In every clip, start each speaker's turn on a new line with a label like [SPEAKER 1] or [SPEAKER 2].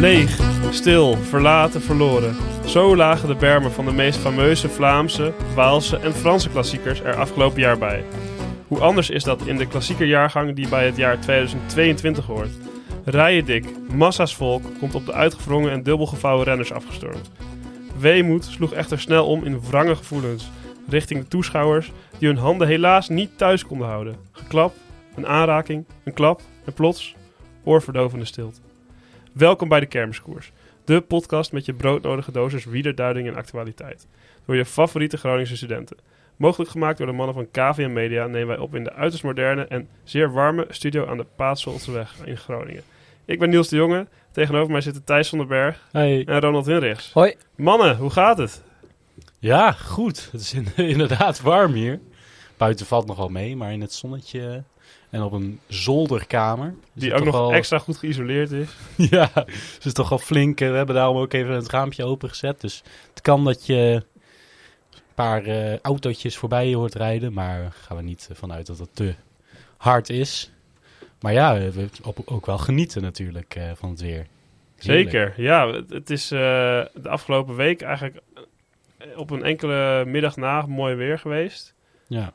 [SPEAKER 1] Leeg, stil, verlaten, verloren. Zo lagen de bermen van de meest fameuze Vlaamse, Waalse en Franse klassiekers er afgelopen jaar bij. Hoe anders is dat in de klassiekerjaargang die bij het jaar 2022 hoort. Rijen dik, massa's volk komt op de uitgevrongen en dubbelgevouwen renners afgestormd. Weemoed sloeg echter snel om in wrange gevoelens, richting de toeschouwers die hun handen helaas niet thuis konden houden. Geklap, een aanraking, een klap en plots oorverdovende stilte. Welkom bij de Kermiskoers, de podcast met je broodnodige dosis wiederduiding en actualiteit. Door je favoriete Groningse studenten. Mogelijk gemaakt door de mannen van KVM Media nemen wij op in de uiterst moderne en zeer warme studio aan de Paatsholtseweg in Groningen. Ik ben Niels de Jonge, tegenover mij zitten Thijs van den Berg
[SPEAKER 2] Hey.
[SPEAKER 1] en Ronald Hinrichs.
[SPEAKER 3] Hoi.
[SPEAKER 1] Mannen, hoe gaat het?
[SPEAKER 2] Ja, goed. Het is in- inderdaad warm hier. Buiten valt nog wel mee, maar in het zonnetje en op een zolderkamer. is
[SPEAKER 1] Die
[SPEAKER 2] het
[SPEAKER 1] ook
[SPEAKER 2] toch
[SPEAKER 1] nog
[SPEAKER 2] wel-
[SPEAKER 1] extra goed geïsoleerd is.
[SPEAKER 2] Ja, dus het is toch wel flink. eh, We hebben daarom ook even het raampje opengezet. Dus het kan dat je een paar eh, autootjes voorbij je hoort rijden. Maar gaan we niet eh, vanuit dat het te hard is. Maar ja, eh, we op- ook wel genieten natuurlijk eh, van het weer. Heerlijk.
[SPEAKER 1] Zeker, ja. Het, het is eh, de afgelopen week eigenlijk eh, op een enkele middag na mooi weer geweest.
[SPEAKER 2] Ja.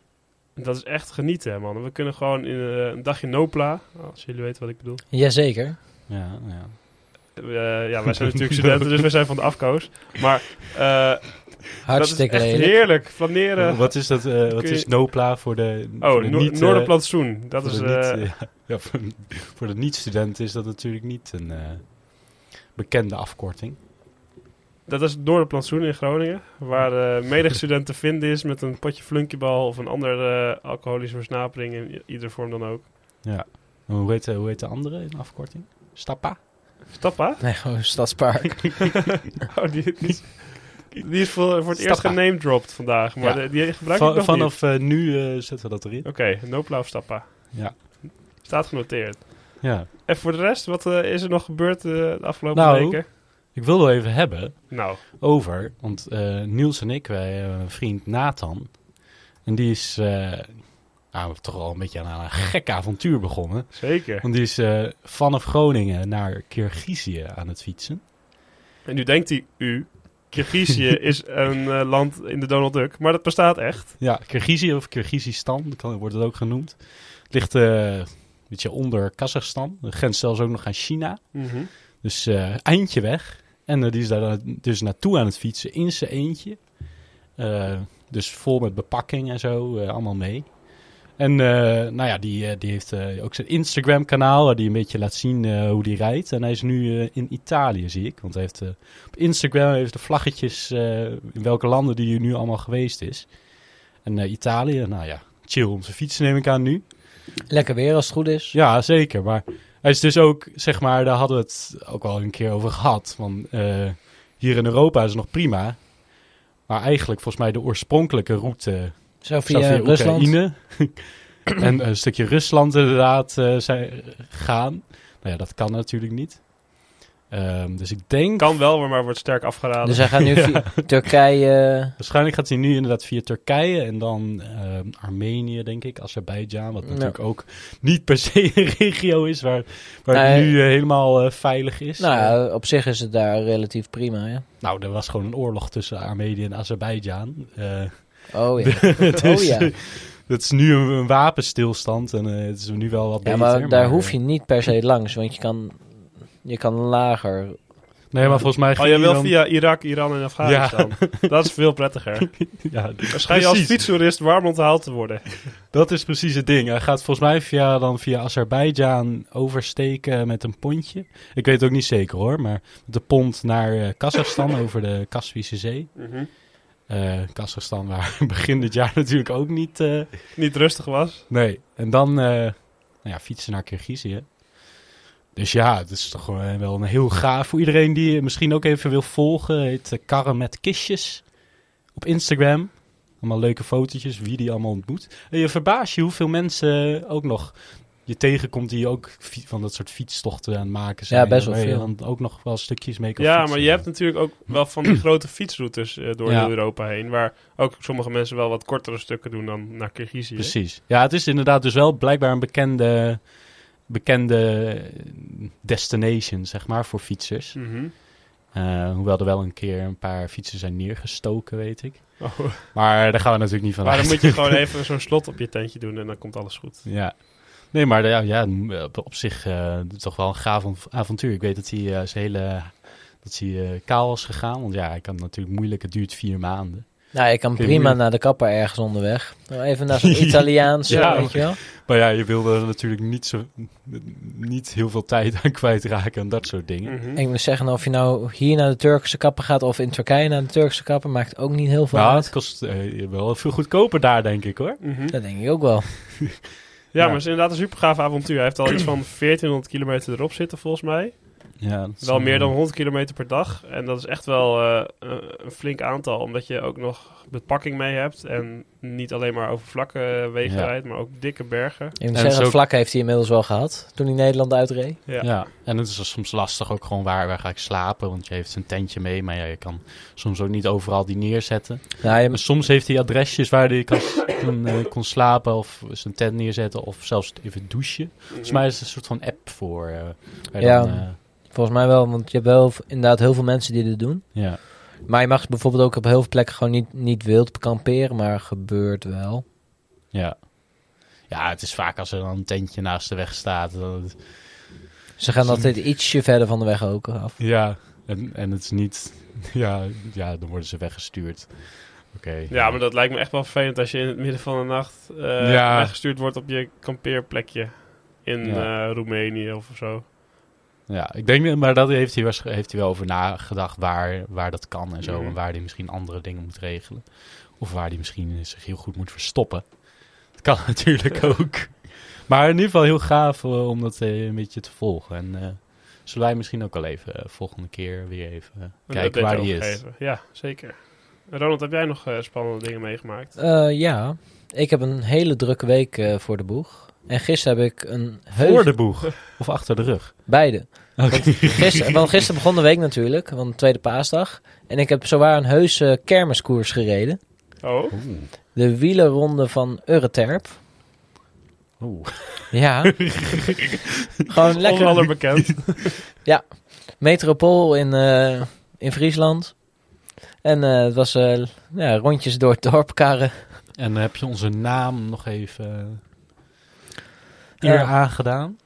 [SPEAKER 1] Dat is echt genieten, hè, man. We kunnen gewoon in, eh, een dagje Nopla, als jullie weten wat ik bedoel.
[SPEAKER 3] Jazeker.
[SPEAKER 2] Ja, ja.
[SPEAKER 1] Eh, ja, wij zijn natuurlijk studenten, dus we zijn van de afkoos. Maar eh,
[SPEAKER 3] Hartstikke
[SPEAKER 1] dat is echt
[SPEAKER 3] lelijk.
[SPEAKER 1] heerlijk. Flaneren.
[SPEAKER 2] Wat is dat? eh, wat
[SPEAKER 1] je-
[SPEAKER 2] is Nopla voor de.
[SPEAKER 1] Oh,
[SPEAKER 2] voor de
[SPEAKER 1] Noor-
[SPEAKER 2] niet, eh,
[SPEAKER 1] Noorderplantsoen. Dat
[SPEAKER 2] voor
[SPEAKER 1] is...
[SPEAKER 2] de
[SPEAKER 1] eh,
[SPEAKER 2] niet, ja, ja, voor, voor de niet-student is dat natuurlijk niet een eh, bekende afkorting. eh,
[SPEAKER 1] Dat is door de plantsoen in Groningen, waar eh medestudent te vinden is met een potje flunkybal of een andere eh, alcoholische versnapering in i- ieder vorm dan ook.
[SPEAKER 2] Ja. En Hoe heet, de- hoe heet de andere in de afkorting? Stappa?
[SPEAKER 1] Stappa?
[SPEAKER 3] Nee, gewoon Stadspark.
[SPEAKER 1] Oh, die, die, die is voor, voor het eerst
[SPEAKER 2] Stappa.
[SPEAKER 1] genamedropt vandaag, maar
[SPEAKER 2] Ja.
[SPEAKER 1] de- die gebruik ik
[SPEAKER 2] Va-
[SPEAKER 1] nog niet.
[SPEAKER 2] vanaf eh, nu eh, zetten we dat erin.
[SPEAKER 1] Oké, Nopla of Stappa.
[SPEAKER 2] Ja.
[SPEAKER 1] Staat genoteerd.
[SPEAKER 2] ja.
[SPEAKER 1] En voor de rest, wat eh, is er nog gebeurd eh, de afgelopen
[SPEAKER 2] Nou.
[SPEAKER 1] weken?
[SPEAKER 2] Ik wil wel even hebben
[SPEAKER 1] Nou,
[SPEAKER 2] over, want eh, Niels en ik, wij hebben een vriend Nathan. En die is eh, nou, toch al een beetje aan een gek avontuur begonnen.
[SPEAKER 1] zeker.
[SPEAKER 2] Want die is eh, vanaf Groningen naar Kirgizië aan het fietsen.
[SPEAKER 1] En nu denkt hij, u, Kirgizië is een eh, land in de Donald Duck, maar dat bestaat echt.
[SPEAKER 2] Ja, Kirgizië of Kirgizistan, kan, wordt het ook genoemd. Het ligt eh, een beetje onder Kazachstan. De grens zelfs ook nog aan China.
[SPEAKER 1] Mhm.
[SPEAKER 2] Dus eh, eindje weg. En eh, die is daar dan dus naartoe aan het fietsen in zijn eentje. Eh, dus vol met bepakking en zo, eh, allemaal mee. En eh, nou ja, die, eh, die heeft eh, ook zijn Instagram-kanaal waar die een beetje laat zien eh, hoe die rijdt. En hij is nu eh, in Italië, zie ik. Want hij heeft, eh, op Instagram heeft de vlaggetjes eh, in welke landen die hij nu allemaal geweest is. En eh, Italië, nou ja, chill om zijn fietsen neem ik aan nu.
[SPEAKER 3] Lekker weer als het goed is.
[SPEAKER 2] Ja, zeker. Maar hij is dus ook, zeg maar, daar hadden we het ook al een keer over gehad. Van, eh, hier in Europa is het nog prima. Maar eigenlijk, volgens mij, de oorspronkelijke route
[SPEAKER 3] Zo via,
[SPEAKER 2] zou via
[SPEAKER 3] Rusland.
[SPEAKER 2] Oekraïne en een stukje Rusland inderdaad eh, zijn gaan. Nou ja, dat kan natuurlijk niet. Ehm, dus ik denk,
[SPEAKER 1] Kan wel, maar wordt sterk afgeraden. Oh,
[SPEAKER 3] Dus hij gaat nu via Turkije.
[SPEAKER 2] waarschijnlijk gaat hij nu inderdaad via Turkije en dan ehm, Armenië, denk ik, Azerbeidzjan. Wat
[SPEAKER 3] Ja.
[SPEAKER 2] natuurlijk ook niet per se een regio is waar, waar het
[SPEAKER 3] Nee.
[SPEAKER 2] nu eh, helemaal eh, veilig is.
[SPEAKER 3] Nou,
[SPEAKER 2] Eh,
[SPEAKER 3] ja, op zich is het daar relatief prima, ja.
[SPEAKER 2] Nou, er was gewoon een oorlog tussen Armenië en Azerbeidzjan. Eh,
[SPEAKER 3] Oh ja.
[SPEAKER 2] dus,
[SPEAKER 3] oh ja.
[SPEAKER 2] Het is nu een, een wapenstilstand en eh, het is nu wel wat
[SPEAKER 3] Ja,
[SPEAKER 2] beter.
[SPEAKER 3] maar daar hoef
[SPEAKER 2] eh,
[SPEAKER 3] je niet per se langs, want je kan, je kan lager.
[SPEAKER 2] eh, Nee, maar volgens mij...
[SPEAKER 1] Oh,
[SPEAKER 2] ging
[SPEAKER 1] jij
[SPEAKER 2] hij
[SPEAKER 1] wil
[SPEAKER 2] dan-
[SPEAKER 1] via Irak, Iran en Afghanistan. Dat is veel prettiger.
[SPEAKER 2] Ja,
[SPEAKER 1] Waarschijnlijk als
[SPEAKER 2] Precies.
[SPEAKER 1] fietstoerist warm onthaald te worden.
[SPEAKER 2] dat is precies het ding. Hij gaat volgens mij via, dan via Azerbeidzjan oversteken met een pontje. Ik weet het ook niet zeker hoor, maar met de pont naar eh, Kazachstan over de Kaspische Zee.
[SPEAKER 1] Mhm.
[SPEAKER 2] Eh, Kazachstan waar begin dit jaar natuurlijk ook niet... eh,
[SPEAKER 1] Niet rustig was.
[SPEAKER 2] Nee, en dan eh, nou ja, fietsen naar Kirgizië. Dus ja, het is toch eh, wel een heel gaaf. Voor iedereen die het misschien ook even wil volgen, heet eh, Karren met Kistjes op Instagram. Allemaal leuke fotootjes, wie die allemaal ontmoet. En je verbaast je hoeveel mensen eh, ook nog je tegenkomt die ook fi- van dat soort fietstochten aan het maken
[SPEAKER 3] Ja,
[SPEAKER 2] zijn.
[SPEAKER 3] best wel
[SPEAKER 2] waar je
[SPEAKER 3] veel.
[SPEAKER 2] dan ook nog wel stukjes mee kan
[SPEAKER 1] Ja,
[SPEAKER 2] fietsen.
[SPEAKER 1] maar je hebt natuurlijk ook wel van die grote fietsroutes eh, door
[SPEAKER 2] Ja.
[SPEAKER 1] heel Europa heen. Waar ook sommige mensen wel wat kortere stukken doen dan naar Kirgizië.
[SPEAKER 2] Precies. Ja, het is inderdaad dus wel blijkbaar een bekende, bekende destination, zeg maar, voor fietsers.
[SPEAKER 1] Mhm.
[SPEAKER 2] Eh, hoewel er wel een keer een paar fietsen zijn neergestoken, weet ik.
[SPEAKER 1] Oh.
[SPEAKER 2] Maar daar gaan we natuurlijk niet van
[SPEAKER 1] Maar
[SPEAKER 2] uit.
[SPEAKER 1] dan moet je gewoon even zo'n slot op je tentje doen en dan komt alles goed.
[SPEAKER 2] Ja. Nee, maar ja, ja, op, op zich eh, toch wel een gaaf av- avontuur. Ik weet dat hij eh, zijn hele... Dat hij eh, kaal was gegaan. Want ja, hij kan natuurlijk moeilijk. Het duurt vier maanden.
[SPEAKER 3] Nou, ik kan
[SPEAKER 2] Kun je
[SPEAKER 3] prima
[SPEAKER 2] nu-
[SPEAKER 3] naar de kapper ergens onderweg. Nou, Even naar zo'n Italiaans,
[SPEAKER 1] Ja.
[SPEAKER 3] weet je wel.
[SPEAKER 2] Maar ja, je wilde er natuurlijk niet, zo, niet heel veel tijd aan kwijtraken en dat soort dingen.
[SPEAKER 1] Mhm.
[SPEAKER 3] Ik moet zeggen, of je nou hier naar de Turkse kapper gaat of in Turkije naar de Turkse kapper, maakt ook niet heel veel
[SPEAKER 2] Nou,
[SPEAKER 3] uit.
[SPEAKER 2] het kost eh, wel veel goedkoper daar, denk ik hoor.
[SPEAKER 1] Mhm.
[SPEAKER 3] Dat denk ik ook wel.
[SPEAKER 1] Ja,
[SPEAKER 2] Ja.
[SPEAKER 1] maar het is inderdaad een super gaaf avontuur. Hij heeft al iets van 1400 kilometer erop zitten, volgens mij.
[SPEAKER 2] Ja,
[SPEAKER 1] Wel meer dan 100 kilometer per dag. En dat is echt wel eh, een een flink aantal, omdat je ook nog bepakking mee hebt. En niet alleen maar over vlakke eh, wegen
[SPEAKER 2] Ja.
[SPEAKER 1] rijdt, maar ook dikke bergen.
[SPEAKER 3] Ik moet
[SPEAKER 2] En
[SPEAKER 3] zeggen,
[SPEAKER 2] zo-
[SPEAKER 3] het vlak heeft hij inmiddels wel gehad toen hij Nederland uitreed.
[SPEAKER 1] Ja.
[SPEAKER 2] Ja. en het is soms lastig ook gewoon waar, waar ga ik slapen. Want je heeft een tentje mee, maar ja, je kan soms ook niet overal die neerzetten.
[SPEAKER 3] Nou, je-
[SPEAKER 2] En soms heeft hij adresjes waar hij kan, kon, eh, kon slapen of zijn tent neerzetten of zelfs even douchen.
[SPEAKER 1] Mhm.
[SPEAKER 2] Volgens mij is er een soort van app voor. eh, waar je
[SPEAKER 3] Ja.
[SPEAKER 2] dan, eh,
[SPEAKER 3] volgens mij wel, want je hebt wel v- inderdaad heel veel mensen die dit doen.
[SPEAKER 2] ja.
[SPEAKER 3] Maar je mag bijvoorbeeld ook op heel veel plekken gewoon niet, niet wild kamperen, maar gebeurt wel.
[SPEAKER 2] Ja. ja, het is vaak als er dan een tentje naast de weg staat. dan-
[SPEAKER 3] Ze gaan altijd ietsje verder van de weg ook af.
[SPEAKER 2] Ja, en, en het is niet... Ja, ja, dan worden ze weggestuurd. Oké.
[SPEAKER 1] Ja, maar dat lijkt me echt wel vervelend als je in het midden van de nacht eh,
[SPEAKER 2] Ja.
[SPEAKER 1] weggestuurd wordt op je kampeerplekje in
[SPEAKER 2] Ja.
[SPEAKER 1] eh, Roemenië of zo.
[SPEAKER 2] Ja, ik denk, maar daar heeft hij, waarsch- heeft hij wel over nagedacht waar, waar dat kan en zo.
[SPEAKER 1] Mhm.
[SPEAKER 2] En waar hij misschien andere dingen moet regelen. Of waar hij misschien zich heel goed moet verstoppen. Dat kan natuurlijk ook. Maar in ieder geval heel gaaf eh, om dat eh, een beetje te volgen. En eh, zullen wij misschien ook al even eh, volgende keer weer even eh,
[SPEAKER 1] Een
[SPEAKER 2] kijken
[SPEAKER 1] update
[SPEAKER 2] waar hij is.
[SPEAKER 1] overgeven. Ja, zeker. Ronald, heb jij nog eh, spannende dingen meegemaakt?
[SPEAKER 3] Eh, ja, ik heb een hele drukke week eh, voor de boeg. En gisteren heb ik een heus...
[SPEAKER 2] Voor de boeg of achter de rug.
[SPEAKER 3] Beide.
[SPEAKER 2] Oké.
[SPEAKER 3] Gisteren, want gisteren begon de week natuurlijk, want tweede paasdag. En ik heb zowaar een heuse kermiskoers gereden.
[SPEAKER 1] Oh,
[SPEAKER 2] Oeh.
[SPEAKER 3] De wielerronde van Euroterp.
[SPEAKER 2] Oeh.
[SPEAKER 3] Ja. Gewoon lekker.
[SPEAKER 1] onder bekend.
[SPEAKER 3] Metropool in, eh, in Friesland. En eh, het was eh, ja, rondjes door het dorp karren.
[SPEAKER 2] En heb je onze naam nog even eh, eer
[SPEAKER 3] Ja.
[SPEAKER 2] aangedaan?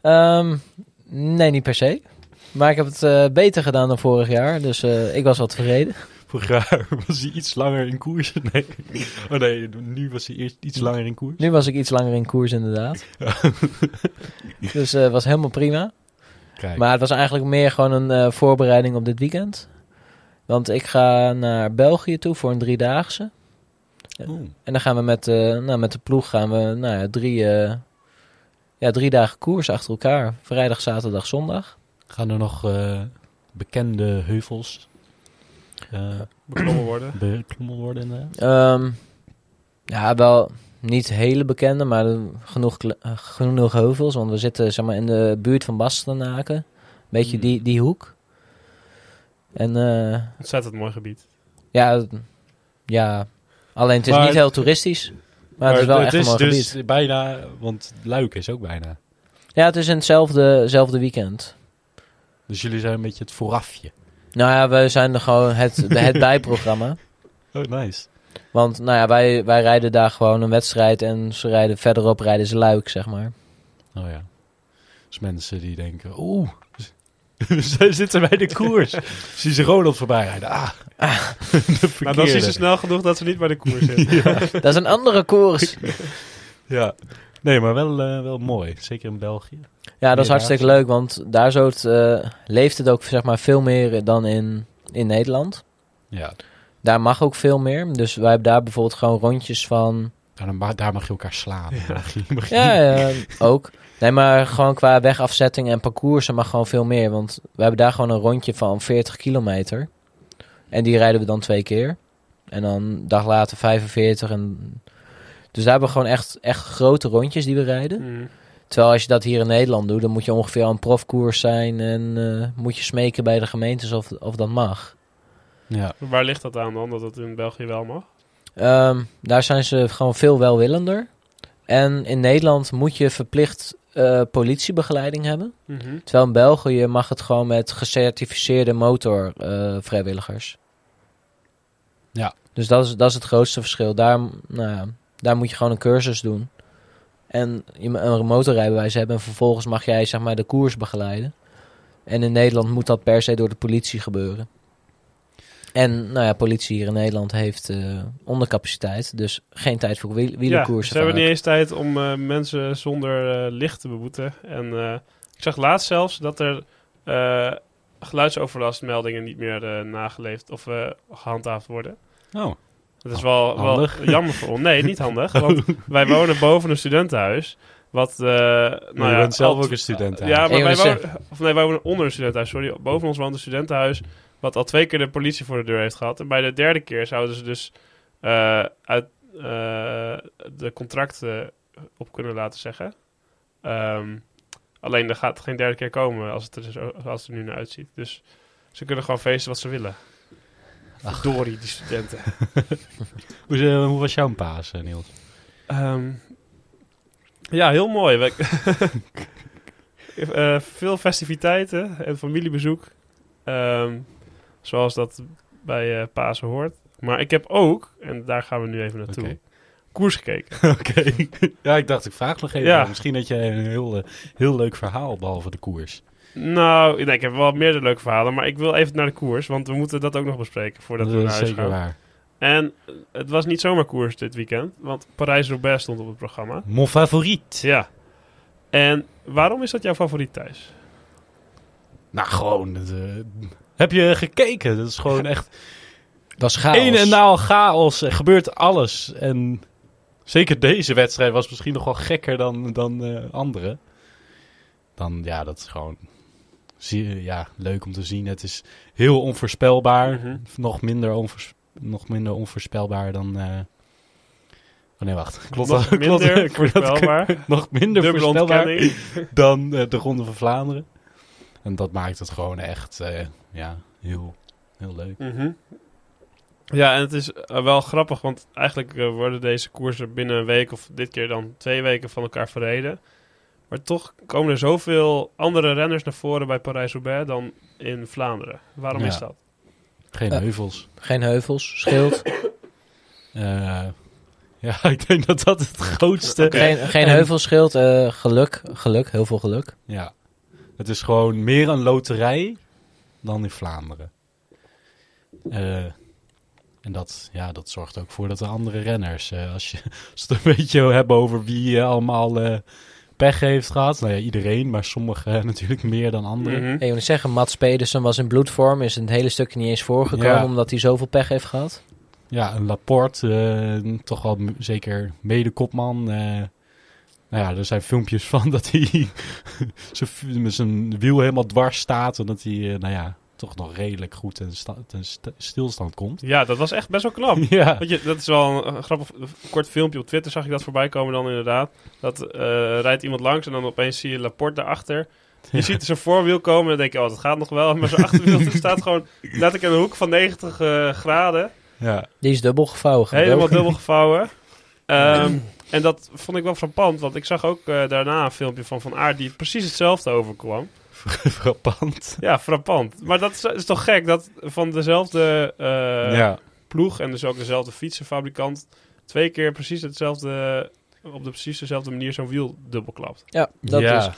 [SPEAKER 3] Ehm, nee, niet per se. Maar ik heb het eh, beter gedaan dan vorig jaar. Dus eh, ik was wat tevreden.
[SPEAKER 2] Vorig jaar was hij iets langer in koers. Nee. Oh nee, nu was hij eerst iets langer in koers.
[SPEAKER 3] Nu was ik iets langer in koers inderdaad. dus het was helemaal prima.
[SPEAKER 2] Kijk.
[SPEAKER 3] Maar het was eigenlijk meer gewoon een eh, voorbereiding op dit weekend. Want ik ga naar België toe voor een driedaagse.
[SPEAKER 2] Oeh.
[SPEAKER 3] En dan gaan we met, eh, nou, met de ploeg gaan we, nou, ja, drie, eh, ja, drie dagen koers achter elkaar. Vrijdag, zaterdag, zondag.
[SPEAKER 2] Gaan er nog eh, bekende heuvels eh
[SPEAKER 1] Beklommen worden.
[SPEAKER 2] beklommen worden? inderdaad?
[SPEAKER 3] Ehm, ja, wel niet hele bekende, maar genoeg, kle- eh, genoeg heuvels. Want we zitten zeg maar, in de buurt van Bastenaken. Een beetje
[SPEAKER 2] Hmm.
[SPEAKER 3] die, die hoek. En eh,
[SPEAKER 1] Ontzettend mooi gebied.
[SPEAKER 3] ja, ja, alleen het is
[SPEAKER 2] Maar
[SPEAKER 3] niet
[SPEAKER 2] het-
[SPEAKER 3] heel toeristisch. Maar het is wel echt een mooi
[SPEAKER 2] dus
[SPEAKER 3] gebied.
[SPEAKER 2] bijna, want Luik is ook bijna.
[SPEAKER 3] Ja, het is in hetzelfde hetzelfde weekend.
[SPEAKER 2] Dus jullie zijn een beetje het voorafje.
[SPEAKER 3] Nou ja, we zijn er gewoon het, het bijprogramma.
[SPEAKER 2] Oh, nice.
[SPEAKER 3] Want nou ja, wij, wij rijden daar gewoon een wedstrijd en ze rijden verderop rijden ze luik, zeg maar.
[SPEAKER 2] Oh ja. Dus mensen die denken, oeh, ze zitten bij de koers. Zien ze Ronald voorbij rijden. Ah, de
[SPEAKER 1] Nou, dan
[SPEAKER 2] verkeerde.
[SPEAKER 1] is ze snel genoeg dat ze niet bij de koers zitten.
[SPEAKER 3] dat is een andere koers.
[SPEAKER 2] Ja. Nee, maar wel, eh, wel mooi. Zeker in België.
[SPEAKER 3] Ja, dat is hartstikke leuk, want daar zo het, eh, leeft het ook zeg maar, veel meer dan in, in Nederland.
[SPEAKER 2] Ja.
[SPEAKER 3] Daar mag ook veel meer. Dus wij hebben daar bijvoorbeeld gewoon rondjes van.
[SPEAKER 2] Daar, ma- daar mag je elkaar slaan. Mag je- mag je-
[SPEAKER 3] Ja, ja, ook. Nee, maar gewoon qua wegafzetting en parcoursen mag gewoon veel meer. Want we hebben daar gewoon een rondje van 40 kilometer. En die rijden we dan twee keer. En dan een dag later 45. En... Dus daar hebben we gewoon echt, echt grote rondjes die we rijden.
[SPEAKER 1] Mhm.
[SPEAKER 3] Terwijl als je dat hier in Nederland doet, dan moet je ongeveer aan een profkoers zijn en eh, moet je smeken bij de gemeentes of, of dat mag.
[SPEAKER 2] Ja.
[SPEAKER 1] Waar ligt dat aan dan, dat het in België wel mag?
[SPEAKER 3] Ehm, daar zijn ze gewoon veel welwillender. En in Nederland moet je verplicht eh, politiebegeleiding hebben.
[SPEAKER 1] Mhm.
[SPEAKER 3] Terwijl in België mag het gewoon met gecertificeerde motorvrijwilligers.
[SPEAKER 2] Ja.
[SPEAKER 3] Dus dat is, dat is het grootste verschil. Daar, nou ja, daar moet je gewoon een cursus doen. En je moet een motorrijbewijs hebben. En vervolgens mag jij zeg maar de koers begeleiden. En in Nederland moet dat per se door de politie gebeuren. En nou ja, politie hier in Nederland heeft eh, ondercapaciteit. Dus geen tijd voor wiel
[SPEAKER 1] Ja,
[SPEAKER 3] wielerkoersen.
[SPEAKER 1] ze hebben
[SPEAKER 3] vaak.
[SPEAKER 1] niet eens tijd om eh, mensen zonder eh, licht te beboeten. En eh, ik zag laatst zelfs dat er eh, geluidsoverlastmeldingen niet meer eh, nageleefd of eh, gehandhaafd worden.
[SPEAKER 2] Oh,
[SPEAKER 1] Dat is wel, wel
[SPEAKER 2] Handig.
[SPEAKER 1] jammer voor ons. Nee, niet handig. Want wij wonen boven een studentenhuis. Wat, eh nou
[SPEAKER 2] nou je
[SPEAKER 1] ja,
[SPEAKER 2] bent zelf
[SPEAKER 1] al-
[SPEAKER 2] ook een student.
[SPEAKER 1] Ja,
[SPEAKER 2] eigenlijk.
[SPEAKER 1] maar
[SPEAKER 3] Ik
[SPEAKER 1] wij
[SPEAKER 3] wou net
[SPEAKER 1] wonen, of nee, wij wonen onder een studentenhuis. Sorry, boven ons woont een studentenhuis. Wat al twee keer de politie voor de deur heeft gehad. En bij de derde keer zouden ze dus eh, uit eh, de contracten op kunnen laten zeggen. Ehm, alleen er gaat geen derde keer komen als het er, zo- als het er nu naar uitziet. Dus ze kunnen gewoon feesten wat ze willen. Verdorie, die studenten.
[SPEAKER 2] Hoe, is, eh, hoe was jouw paas, eh, Niels?
[SPEAKER 1] Ehm, ja, heel mooi. We- Eh, veel festiviteiten en familiebezoek. Ehm, zoals dat bij eh, Pasen hoort. Maar ik heb ook, en daar gaan we nu even naartoe,
[SPEAKER 2] Oké.
[SPEAKER 1] koers gekeken.
[SPEAKER 2] Oké. ja, ik dacht, ik vraag nog even.
[SPEAKER 1] Ja.
[SPEAKER 2] Misschien dat jij een heel, eh, heel leuk verhaal, behalve de koers.
[SPEAKER 1] Nou, nee, ik heb wel meerdere leuke verhalen, maar ik wil even naar de koers. Want we moeten dat ook nog bespreken voordat we naar
[SPEAKER 2] is
[SPEAKER 1] huis
[SPEAKER 2] zeker
[SPEAKER 1] gaan.
[SPEAKER 2] waar.
[SPEAKER 1] En eh, het was niet zomaar koers dit weekend, want Parijs-Roubaix stond op het programma.
[SPEAKER 2] Mon favoriet.
[SPEAKER 1] Ja. En waarom is dat jouw favoriet, Thijs?
[SPEAKER 2] Nou, gewoon. dat, eh, heb je gekeken? Dat is gewoon echt
[SPEAKER 3] Dat is chaos.
[SPEAKER 2] een en naal chaos. Er gebeurt alles. En zeker deze wedstrijd was misschien nog wel gekker dan, dan eh, andere. Dan, ja, dat is gewoon zie- ja, leuk om te zien. Het is heel onvoorspelbaar.
[SPEAKER 1] Mhm.
[SPEAKER 2] nog, minder onvoors- nog minder onvoorspelbaar dan... eh, Oh nee, wacht. Klopt
[SPEAKER 1] Nog
[SPEAKER 2] dat? Klopt
[SPEAKER 1] minder
[SPEAKER 2] dat? Ik word dat-
[SPEAKER 1] voorspelbaar.
[SPEAKER 2] Nog minder
[SPEAKER 1] Dubbele
[SPEAKER 2] voorspelbaar
[SPEAKER 1] ontkenning.
[SPEAKER 2] dan eh, de Ronde van Vlaanderen. En dat maakt het gewoon echt eh, ja, heel, heel leuk.
[SPEAKER 1] Mhm. Ja, en het is eh, wel grappig, want eigenlijk eh, worden deze koersen binnen een week of dit keer dan twee weken van elkaar verreden. Maar toch komen er zoveel andere renners naar voren bij Parijs-Roubaix dan in Vlaanderen. Waarom
[SPEAKER 2] Ja.
[SPEAKER 1] is dat?
[SPEAKER 2] Geen
[SPEAKER 3] Eh.
[SPEAKER 2] heuvels.
[SPEAKER 3] Geen heuvels, schild.
[SPEAKER 2] Eh, ja, ik denk dat dat het grootste...
[SPEAKER 3] Geen, geen
[SPEAKER 2] En-
[SPEAKER 3] heuvels, schild. eh, geluk, geluk, heel veel geluk.
[SPEAKER 2] Ja. Het is gewoon meer een loterij dan in Vlaanderen. Eh, en dat, ja, dat zorgt ook voor dat de andere renners, eh, als, je, als we het een beetje hebben over wie eh, allemaal eh, pech heeft gehad. Nou ja, iedereen, maar sommigen eh, natuurlijk meer dan anderen.
[SPEAKER 1] Mhm.
[SPEAKER 3] Ik wil niet zeggen, Mats Pedersen was in bloedvorm, is een hele stukje niet eens voorgekomen
[SPEAKER 2] Ja.
[SPEAKER 3] omdat hij zoveel pech heeft gehad.
[SPEAKER 2] Ja, een Laporte, eh, toch wel m- zeker mede-kopman. eh. nou ja, er zijn filmpjes van dat hij zijn v- met zijn wiel helemaal dwars staat. En dat hij, eh, nou ja, toch nog redelijk goed ten, sta- ten st- stilstand komt.
[SPEAKER 1] Ja, dat was echt best wel knap.
[SPEAKER 2] Ja,
[SPEAKER 1] Want je, dat is wel een, een grappig een kort filmpje op Twitter, zag ik dat voorbij komen dan inderdaad. Dat eh, rijdt iemand langs en dan opeens zie je Laporte daarachter. Je ziet zijn voorwiel komen en dan denk je, oh, dat gaat nog wel. Maar zijn achterwiel staat gewoon letterlijk in een hoek van 90 eh, graden.
[SPEAKER 2] ja.
[SPEAKER 3] Die is dubbel gevouwen. gebroken.
[SPEAKER 1] Helemaal dubbel gevouwen. Ehm, en dat vond ik wel frappant, want ik zag ook eh, daarna een filmpje van Van Aert die precies hetzelfde overkwam.
[SPEAKER 2] frappant.
[SPEAKER 1] Ja, frappant. Maar dat is, is toch gek, dat van dezelfde eh,
[SPEAKER 2] ja.
[SPEAKER 1] ploeg en dus ook dezelfde fietsenfabrikant twee keer precies hetzelfde, op de precies dezelfde manier zo'n wiel dubbelklapt.
[SPEAKER 3] Ja, dat dus.
[SPEAKER 2] ja.
[SPEAKER 3] is.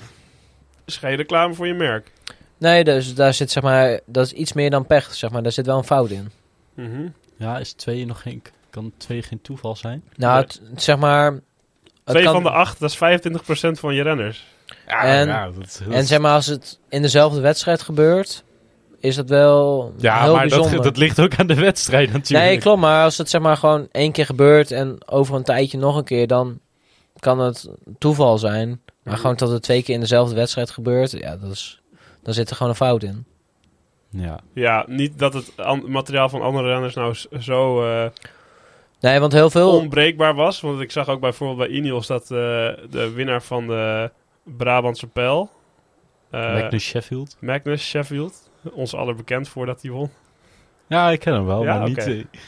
[SPEAKER 1] Is geen reclame voor je merk.
[SPEAKER 3] Nee, dus daar zit zeg maar, dat is iets meer dan pech, zeg maar. Daar zit wel een fout in.
[SPEAKER 1] Mhm.
[SPEAKER 2] Ja, is twee nog geen, kan twee geen toeval zijn?
[SPEAKER 3] Nou,
[SPEAKER 1] Nee.
[SPEAKER 3] het- het, zeg maar. het
[SPEAKER 1] Twee
[SPEAKER 3] kan-
[SPEAKER 1] van de acht, dat is 25% van je renners.
[SPEAKER 3] En-
[SPEAKER 2] dat, is-
[SPEAKER 3] En zeg maar, als het in dezelfde wedstrijd gebeurt, is dat wel
[SPEAKER 2] ja,
[SPEAKER 3] heel
[SPEAKER 2] maar
[SPEAKER 3] bijzonder.
[SPEAKER 2] dat, dat ligt ook aan de wedstrijd natuurlijk.
[SPEAKER 3] nee, klopt, maar als het zeg maar gewoon één keer gebeurt en over een tijdje nog een keer, dan kan het toeval zijn. Maar gewoon dat het twee keer in dezelfde wedstrijd gebeurt, ja, dat is, dan zit er gewoon een fout in.
[SPEAKER 2] Ja,
[SPEAKER 1] Ja, niet dat het an- materiaal van andere renners nou s- zo... eh,
[SPEAKER 3] Nee, want heel veel.
[SPEAKER 1] onbreekbaar was. Want ik zag ook bijvoorbeeld bij Ineos dat eh, de winnaar van de Brabantse pijl. Eh,
[SPEAKER 2] Magnus Sheffield.
[SPEAKER 1] Magnus Sheffield. Ons allerbekend voordat hij won.
[SPEAKER 2] Ja, ik ken hem wel,
[SPEAKER 1] Ja,
[SPEAKER 2] maar
[SPEAKER 1] oké.
[SPEAKER 2] niet... eh,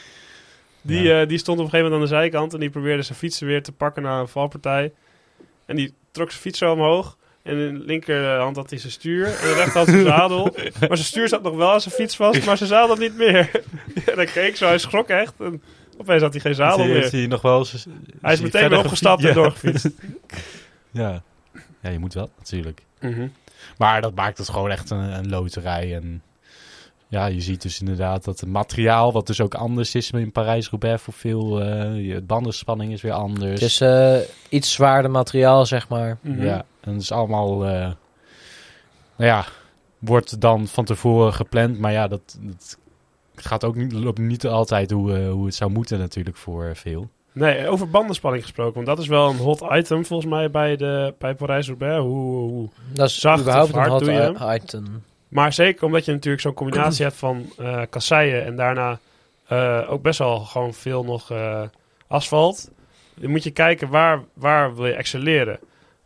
[SPEAKER 1] Die,
[SPEAKER 2] Ja.
[SPEAKER 1] eh, die stond op een gegeven moment aan de zijkant en die probeerde zijn fietsen weer te pakken na een valpartij. En die trok zijn fiets zo omhoog. En in de linkerhand had hij zijn stuur. En in de rechter had zijn zadel. Maar zijn stuur zat nog wel aan zijn fiets vast, maar zijn zadel niet meer. en hij keek zo, hij schrok echt. En opeens had hij geen zadel
[SPEAKER 2] heeft hij- heeft
[SPEAKER 1] meer.
[SPEAKER 2] hij nog wel eens...
[SPEAKER 1] Hij is
[SPEAKER 2] hij
[SPEAKER 1] meteen
[SPEAKER 2] verder
[SPEAKER 1] weer opgestapt en
[SPEAKER 2] gefietst? Ja.
[SPEAKER 1] doorgefietst.
[SPEAKER 2] Ja. ja, je moet wel, natuurlijk.
[SPEAKER 1] Mhm.
[SPEAKER 2] Maar dat maakt het gewoon echt een, een loterij. En ja, je ziet dus inderdaad dat het materiaal, wat dus ook anders is in Parijs-Roubaix voor veel, eh, je bandenspanning is weer anders.
[SPEAKER 3] Het is eh, iets zwaarder materiaal, zeg maar.
[SPEAKER 1] Mhm.
[SPEAKER 2] Ja, en dat is allemaal, eh, nou ja, wordt dan van tevoren gepland. Maar ja, dat, dat gaat ook niet, loopt niet altijd hoe, eh, hoe het zou moeten natuurlijk voor eh, veel.
[SPEAKER 1] Nee, over bandenspanning gesproken. Want dat is wel een hot item volgens mij bij, de, bij Parijs-Roubaix. Hoe, hoe, hoe.
[SPEAKER 3] Dat is
[SPEAKER 1] Zacht of
[SPEAKER 3] überhaupt een
[SPEAKER 1] hard
[SPEAKER 3] hot
[SPEAKER 1] doe je
[SPEAKER 3] i-
[SPEAKER 1] hem?
[SPEAKER 3] item.
[SPEAKER 1] Maar zeker omdat je natuurlijk zo'n combinatie hebt van eh kasseien en daarna eh, ook best wel gewoon veel nog eh, asfalt. Dan moet je kijken waar, waar wil je excelleren.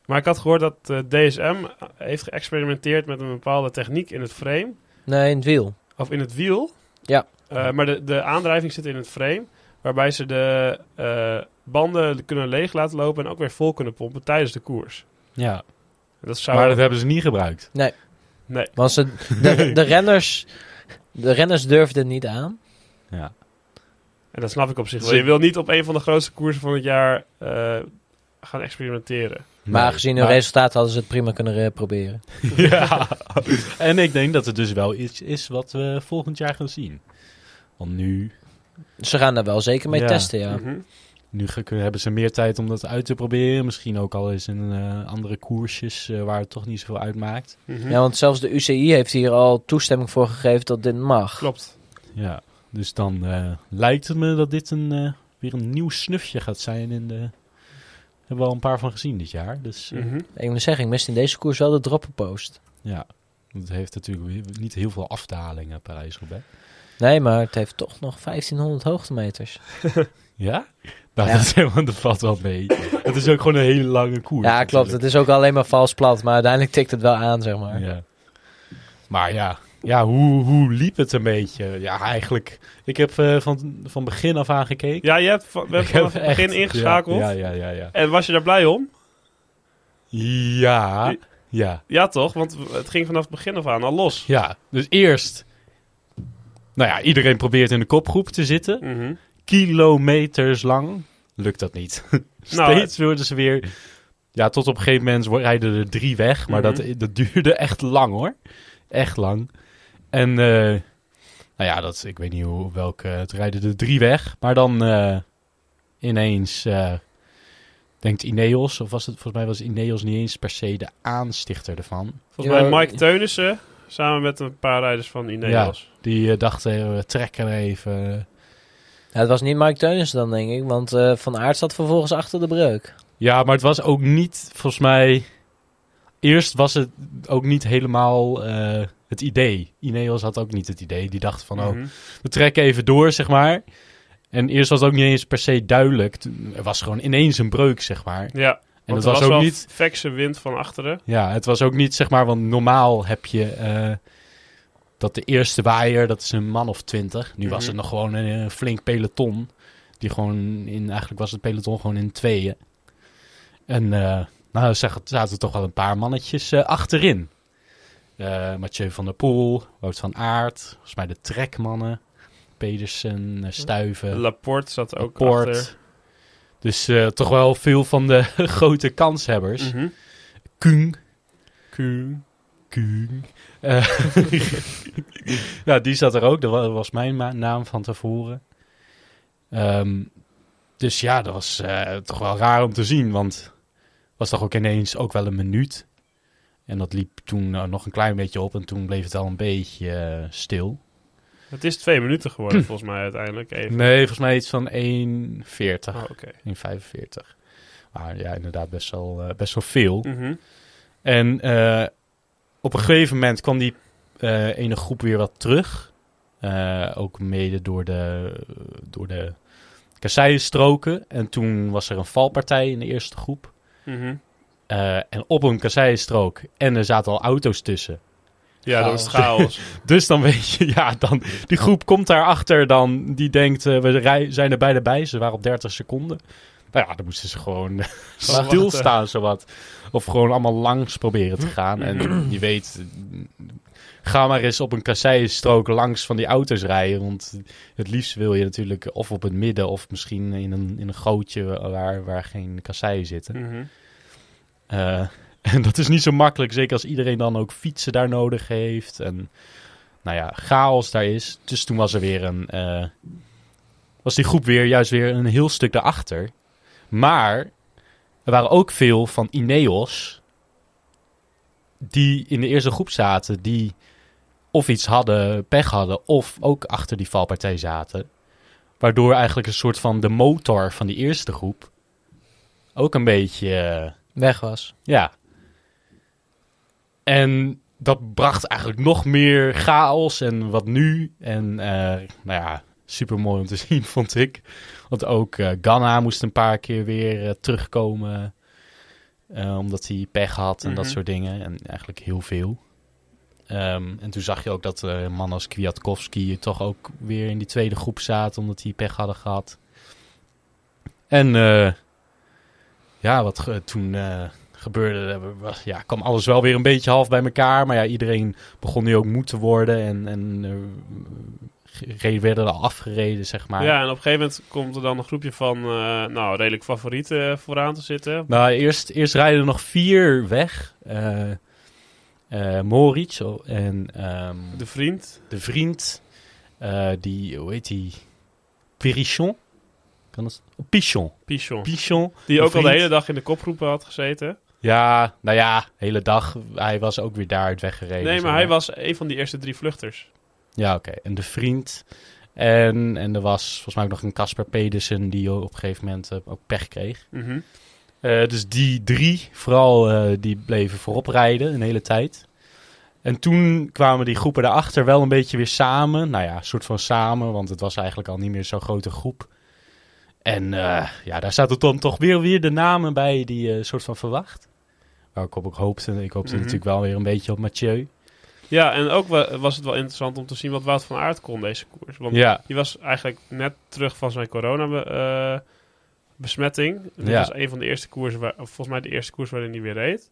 [SPEAKER 1] Maar ik had gehoord dat eh, DSM heeft geëxperimenteerd met een bepaalde techniek in het frame.
[SPEAKER 3] Nee, in het wiel.
[SPEAKER 1] Of in het wiel.
[SPEAKER 3] Ja.
[SPEAKER 1] Eh, maar de, de aandrijving zit in het frame. Waarbij ze de eh, banden kunnen leeg laten lopen en ook weer vol kunnen pompen tijdens de koers.
[SPEAKER 2] Ja,
[SPEAKER 1] En Dat zou
[SPEAKER 2] maar dat hebben ze niet gebruikt.
[SPEAKER 3] Want ze, de, de, renners, de renners durfden het niet aan.
[SPEAKER 2] Ja,
[SPEAKER 1] En dat snap ik op zich wel. Dus Je wil niet op een van de grootste koersen van het jaar eh, gaan experimenteren.
[SPEAKER 3] Maar
[SPEAKER 2] Nee.
[SPEAKER 3] gezien hun
[SPEAKER 2] Maar-
[SPEAKER 3] resultaat hadden ze het prima kunnen eh, proberen.
[SPEAKER 2] ja. En ik denk dat het dus wel iets is wat we volgend jaar gaan zien. Want nu,
[SPEAKER 3] Ze gaan daar wel zeker mee
[SPEAKER 2] Ja.
[SPEAKER 3] testen, ja.
[SPEAKER 1] Mhm.
[SPEAKER 2] nu ge- kunnen- hebben ze meer tijd om dat uit te proberen. Misschien ook al eens in eh, andere koersjes eh, waar het toch niet zoveel uitmaakt.
[SPEAKER 1] Mhm.
[SPEAKER 3] Ja, want zelfs de UCI heeft hier al toestemming voor gegeven dat dit mag.
[SPEAKER 1] Klopt.
[SPEAKER 2] Ja, dus dan eh, lijkt het me dat dit een, eh, weer een nieuw snufje gaat zijn. In de... Hebben we al een paar van gezien dit jaar. Dus eh,
[SPEAKER 1] Mhm.
[SPEAKER 3] Ik moet zeggen, ik miste in deze koers wel de droppenpost.
[SPEAKER 2] ja, het heeft natuurlijk weer niet heel veel afdalingen Parijs-Roubaix.
[SPEAKER 3] Nee, maar het heeft toch nog 1500 hoogtemeters.
[SPEAKER 2] Ja? Nou,
[SPEAKER 3] Ja.
[SPEAKER 2] dat, is helemaal, dat valt wel mee. Het is ook gewoon een hele lange koers.
[SPEAKER 3] Ja, klopt.
[SPEAKER 2] natuurlijk.
[SPEAKER 3] Het is ook alleen maar vals plat, maar uiteindelijk tikt het wel aan, zeg maar.
[SPEAKER 2] Ja. Maar ja, ja hoe, hoe liep het een beetje? Ja, eigenlijk. Ik heb eh, van, van begin af aan gekeken.
[SPEAKER 1] Ja, je hebt van, we hebben
[SPEAKER 2] Ik heb
[SPEAKER 1] vanaf het begin
[SPEAKER 2] echt-
[SPEAKER 1] ingeschakeld.
[SPEAKER 2] Ja, ja, ja, ja.
[SPEAKER 1] En was je daar blij om?
[SPEAKER 2] Ja, ja. ja.
[SPEAKER 1] Ja, toch? Want het ging vanaf het begin af aan al los.
[SPEAKER 2] ja. Dus eerst. Nou ja, iedereen probeert in de kopgroep te zitten.
[SPEAKER 1] Mhm.
[SPEAKER 2] Kilometers lang lukt dat niet.
[SPEAKER 1] Nou,
[SPEAKER 2] Steeds wilden ze weer. Ja, tot op een gegeven moment wo- rijden er drie weg. Maar dat, dat duurde echt lang hoor. Echt lang. En eh, nou ja, dat, ik weet niet hoe, welke. Het rijden er drie weg. Maar dan eh, ineens. eh, denkt Ineos, of was het volgens mij was Ineos niet eens per se de aanstichter ervan.
[SPEAKER 1] volgens mij
[SPEAKER 3] Ja.
[SPEAKER 1] Mike Teunissen samen met een paar rijders van Ineos.
[SPEAKER 2] Die eh, dachten, eh, we trekken even.
[SPEAKER 3] Ja, het was niet Mike Teunissen dan, denk ik. Want eh, Van Aert zat vervolgens achter de breuk.
[SPEAKER 2] Ja, maar het was ook niet, volgens mij. Eerst was het ook niet helemaal eh, het idee. Ineos had ook niet het idee. Die dacht van, oh,
[SPEAKER 1] Mhm.
[SPEAKER 2] we trekken even door, zeg maar. En eerst was het ook niet eens per se duidelijk. Toen- Er was gewoon ineens een breuk, zeg maar.
[SPEAKER 1] Ja,
[SPEAKER 2] En
[SPEAKER 1] want
[SPEAKER 2] dat was,
[SPEAKER 1] er was
[SPEAKER 2] ook
[SPEAKER 1] wel
[SPEAKER 2] niet.
[SPEAKER 1] fikse wind van achteren.
[SPEAKER 2] Ja, het was ook niet, zeg maar, want normaal heb je. eh, dat de eerste waaier, dat is een man of twintig. Nu was
[SPEAKER 1] Mhm.
[SPEAKER 2] het nog gewoon een, eh, flink peloton. Die gewoon in, eigenlijk was het peloton gewoon in tweeën. En eh nou zag, zaten toch wel een paar mannetjes eh, achterin. Eh Mathieu van der Poel, Wout van Aert, volgens mij de trekmannen. Pedersen, eh, Stuiven.
[SPEAKER 1] Laporte zat ook
[SPEAKER 2] Laporte.
[SPEAKER 1] achter.
[SPEAKER 2] Dus eh, toch wel veel van de grote kanshebbers.
[SPEAKER 1] Mhm.
[SPEAKER 2] Kung,
[SPEAKER 1] Kuhn.
[SPEAKER 2] Kung. Eh, ja, die zat er ook. Dat wa- was mijn ma- naam van tevoren. Ehm, dus ja, dat was eh, toch wel raar om te zien. Want was toch ook ineens ook wel een minuut. En dat liep toen eh, nog een klein beetje op. En toen bleef het al een beetje eh, stil.
[SPEAKER 1] Het is twee minuten geworden volgens mij uiteindelijk. Even.
[SPEAKER 2] Nee, volgens mij iets van 1,40.
[SPEAKER 1] Oh, oké.
[SPEAKER 2] 1,45. Maar ja, inderdaad best wel, eh, best wel veel.
[SPEAKER 1] Mhm.
[SPEAKER 2] En eh, op een gegeven moment kwam die eh, ene groep weer wat terug. Eh, ook mede door de, door de kasseienstroken. En toen was er een valpartij in de eerste groep.
[SPEAKER 1] Mhm.
[SPEAKER 2] eh, en op een kasseistrook. En er zaten al auto's tussen.
[SPEAKER 1] Ja, dat is chaos.
[SPEAKER 2] Dus dan weet je, ja, dan, die groep komt daarachter dan. Die denkt, eh, we rij, zijn er bijna bij. Ze waren op 30 seconden. Nou ja, dan moesten ze gewoon eh,
[SPEAKER 1] Wachten.
[SPEAKER 2] stilstaan, zowat. Of gewoon allemaal langs proberen te gaan. En je weet, ga maar eens op een kasseistrook langs van die auto's rijden. Want het liefst wil je natuurlijk of op het midden... of misschien in een, in een gootje waar, waar geen kasseien zitten.
[SPEAKER 1] Mhm.
[SPEAKER 2] Eh, en dat is niet zo makkelijk, zeker als iedereen dan ook fietsen daar nodig heeft. En nou ja, chaos daar is. Dus toen was er weer een. eh, was die groep weer juist weer een heel stuk daarachter. Maar er waren ook veel van Ineos. die in de eerste groep zaten. die of iets hadden, pech hadden. of ook achter die valpartij zaten. Waardoor eigenlijk een soort van de motor van die eerste groep. ook een beetje. eh,
[SPEAKER 3] Weg was.
[SPEAKER 2] ja. En dat bracht eigenlijk nog meer chaos en wat nu. En eh, nou ja, super mooi om te zien, vond ik. Want ook eh, Ghana moest een paar keer weer eh, terugkomen. eh, omdat hij pech had en dat
[SPEAKER 1] Mhm.
[SPEAKER 2] soort dingen. En eigenlijk heel veel. Ehm, en toen zag je ook dat eh mannen als Kwiatkowski toch ook weer in die tweede groep zaten. Omdat die pech hadden gehad. En eh, ja, wat ge- toen eh, gebeurde, er was- ja, kwam alles wel weer een beetje half bij elkaar. Maar ja, iedereen begon nu ook moe te worden. En, en eh, ge- re- werden er afgereden, zeg maar.
[SPEAKER 1] Ja, en op een gegeven moment komt er dan een groepje van, eh, nou, redelijk favorieten vooraan te zitten.
[SPEAKER 2] Nou, eerst, eerst rijden er nog vier weg. Eh eh, Moritz oh, en ehm, de,
[SPEAKER 1] De vriend.
[SPEAKER 2] vriend, eh, die, hoe heet die? Pirichon? Kan dat? Oh, Pichon.
[SPEAKER 1] Pichon.
[SPEAKER 2] Pichon.
[SPEAKER 1] Die ook al de
[SPEAKER 2] vriend.
[SPEAKER 1] hele dag in de kopgroepen had gezeten.
[SPEAKER 2] Ja, nou ja, hele dag. Hij was ook weer daaruit weggereden.
[SPEAKER 1] Nee,
[SPEAKER 2] zeg
[SPEAKER 1] maar hij was een van die eerste drie vluchters.
[SPEAKER 2] Ja, oké. En de vriend. En, en er was volgens mij ook nog een Casper Pedersen die op een gegeven moment eh, ook pech kreeg.
[SPEAKER 1] Mhm.
[SPEAKER 2] Eh, dus die drie, vooral, eh, die bleven voorop rijden een hele tijd. En toen kwamen die groepen daarachter wel een beetje weer samen. Nou ja, een soort van samen, want het was eigenlijk al niet meer zo'n grote groep. En eh, ja, daar zaten dan toch weer, weer de namen bij die eh, soort van verwacht. Waar ik op ook hoopte. Ik hoopte
[SPEAKER 1] Mhm.
[SPEAKER 2] natuurlijk wel weer een beetje op Mathieu.
[SPEAKER 1] Ja, en ook wa- was het wel interessant om te zien wat Wout van Aert kon deze koers. Want
[SPEAKER 2] Ja,
[SPEAKER 1] die was eigenlijk net terug van zijn corona-besmetting. Dit
[SPEAKER 2] Ja.
[SPEAKER 1] was een van de eerste koersen, waar, of volgens mij de eerste koers waarin hij weer reed.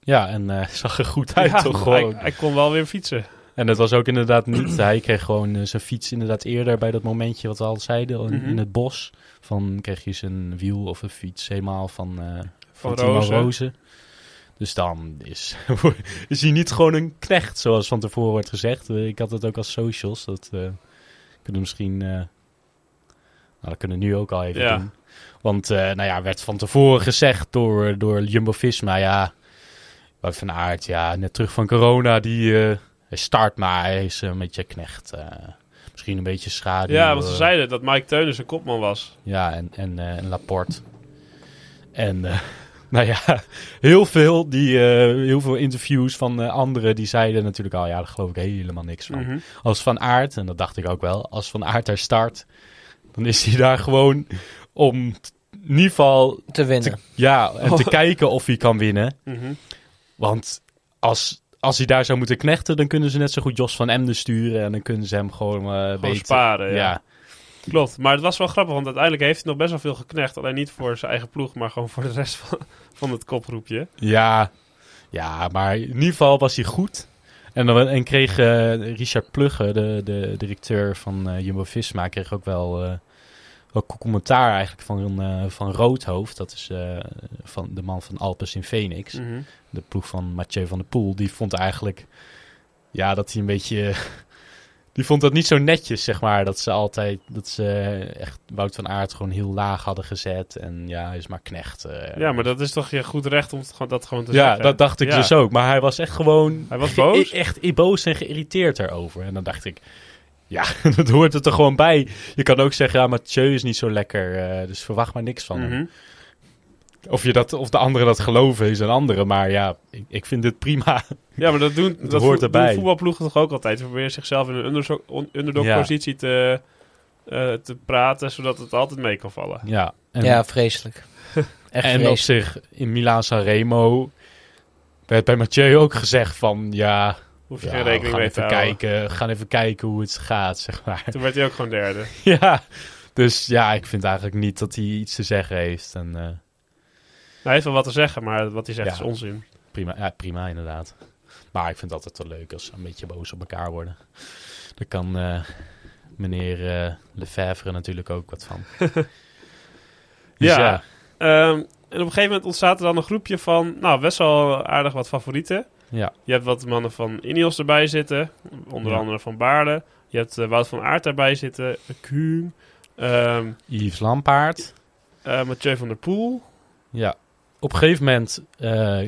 [SPEAKER 2] ja en eh, zag er goed uit
[SPEAKER 1] Ja,
[SPEAKER 2] toch
[SPEAKER 1] hij,
[SPEAKER 2] gewoon.
[SPEAKER 1] hij kon wel weer fietsen.
[SPEAKER 2] En dat was ook inderdaad niet. Hij kreeg gewoon eh, zijn fiets inderdaad eerder bij dat momentje wat we al zeiden in,
[SPEAKER 1] Mhm.
[SPEAKER 2] in het bos. Van kreeg je zijn wiel of een fiets helemaal van, eh
[SPEAKER 1] Van,
[SPEAKER 2] van,
[SPEAKER 1] Rozen.
[SPEAKER 2] Timo Rozen. Dus dan is, is hij niet gewoon een knecht, zoals van tevoren wordt gezegd. Eh, Ik had het ook als socials. Dat eh, kunnen misschien. eh, nou, dat kunnen we nu ook al even
[SPEAKER 1] Ja.
[SPEAKER 2] doen. Want, eh, nou ja, werd van tevoren gezegd door, door Jumbo Visma. Ja, Wout van Aert, ja, net terug van corona. Die eh, hij start, maar hij is een beetje knecht. eh, misschien een beetje schaduw.
[SPEAKER 1] Ja, want ze
[SPEAKER 2] eh,
[SPEAKER 1] zeiden dat Mike Teunen zijn kopman was.
[SPEAKER 2] ja, en, en, eh, en Laporte. En eh, nou ja, heel veel, die, eh, heel veel interviews van eh, anderen die zeiden natuurlijk al, ja, daar geloof ik helemaal niks van.
[SPEAKER 1] Mhm.
[SPEAKER 2] Als Van Aert, en dat dacht ik ook wel, als Van Aert daar start, dan is hij daar gewoon om t- in ieder geval,
[SPEAKER 3] Te winnen.
[SPEAKER 2] ja, en
[SPEAKER 1] Oh.
[SPEAKER 2] te kijken of hij kan winnen.
[SPEAKER 1] Mhm.
[SPEAKER 2] Want als, als hij daar zou moeten knechten, dan kunnen ze net zo goed Jos van Emden sturen en dan kunnen ze hem gewoon, eh
[SPEAKER 1] Gewoon
[SPEAKER 2] beter-
[SPEAKER 1] sparen, ja.
[SPEAKER 2] ja.
[SPEAKER 1] Klopt, maar het was wel grappig, want uiteindelijk heeft hij nog best wel veel geknecht. Alleen niet voor zijn eigen ploeg, maar gewoon voor de rest van, van het koproepje.
[SPEAKER 2] Ja, ja, maar in ieder geval was hij goed. En, dan, en kreeg eh, Richard Plugge, de, de directeur van eh, Jumbo-Visma, kreeg ook wel, eh, wel commentaar eigenlijk van, eh, van Roodhoofd. Dat is eh, van de man van Alpes in Phoenix.
[SPEAKER 1] Mhm.
[SPEAKER 2] De ploeg van Mathieu van der Poel. Die vond eigenlijk ja, dat hij een beetje... Die vond dat niet zo netjes, zeg maar. Dat ze altijd, dat ze echt Wout van Aert gewoon heel laag hadden gezet. En ja, hij is maar knecht. eh,
[SPEAKER 1] Ja, maar dat is toch je goed recht om het gewoon- dat gewoon te
[SPEAKER 2] ja,
[SPEAKER 1] zeggen.
[SPEAKER 2] dat dacht ik
[SPEAKER 1] Ja.
[SPEAKER 2] dus ook. Maar hij was echt gewoon...
[SPEAKER 1] Hij was
[SPEAKER 2] ge-
[SPEAKER 1] boos?
[SPEAKER 2] Echt i- boos en geïrriteerd erover. En dan dacht ik... Ja, dat hoort er toch gewoon bij. Je kan ook zeggen, ja, Mathieu is niet zo lekker. eh, dus verwacht maar niks van hem.
[SPEAKER 1] Mhm.
[SPEAKER 2] Of, je dat, of de anderen dat geloven is een andere. Maar ja, ik, ik vind het prima.
[SPEAKER 1] Ja, maar dat doen,
[SPEAKER 2] Het
[SPEAKER 1] dat
[SPEAKER 2] hoort
[SPEAKER 1] vo-
[SPEAKER 2] erbij.
[SPEAKER 1] doen voetbalploegen toch ook altijd. Ze proberen zichzelf in een underzo- on- underdog-positie te, eh, te praten, zodat het altijd mee kan vallen.
[SPEAKER 2] Ja, en,
[SPEAKER 3] Ja, vreselijk. Echt
[SPEAKER 2] en op
[SPEAKER 3] vreselijk.
[SPEAKER 2] zich, in Milaan Sanremo werd bij Mathieu ook gezegd van... Ja,
[SPEAKER 1] Hoef je
[SPEAKER 2] ja
[SPEAKER 1] geen
[SPEAKER 2] we
[SPEAKER 1] rekening
[SPEAKER 2] gaan
[SPEAKER 1] mee te
[SPEAKER 2] even
[SPEAKER 1] houden.
[SPEAKER 2] kijken, we gaan even kijken hoe het gaat, zeg maar.
[SPEAKER 1] Toen werd hij ook gewoon derde. Nou,
[SPEAKER 2] ja, dus ja, ik vind eigenlijk niet dat hij iets te zeggen heeft. En eh,
[SPEAKER 1] Nou, hij heeft wel wat te zeggen, maar wat hij zegt
[SPEAKER 2] Ja.
[SPEAKER 1] is onzin.
[SPEAKER 2] prima, ja, prima inderdaad. Maar ik vind het altijd wel leuk als ze een beetje boos op elkaar worden. Daar kan eh, meneer eh Lefevre natuurlijk ook wat van. Dus
[SPEAKER 1] Ja. Ehm, en op een gegeven moment ontstaat er dan een groepje van, nou, best wel aardig wat favorieten.
[SPEAKER 2] Ja.
[SPEAKER 1] Je hebt wat mannen van Ineos erbij zitten, onder
[SPEAKER 2] Ja.
[SPEAKER 1] andere van Baarle. Je hebt eh, Wout van Aert daarbij zitten, Kuhn, ehm
[SPEAKER 2] Yves Lampaard.
[SPEAKER 1] eh, Mathieu van der Poel.
[SPEAKER 2] Ja, op een gegeven moment eh,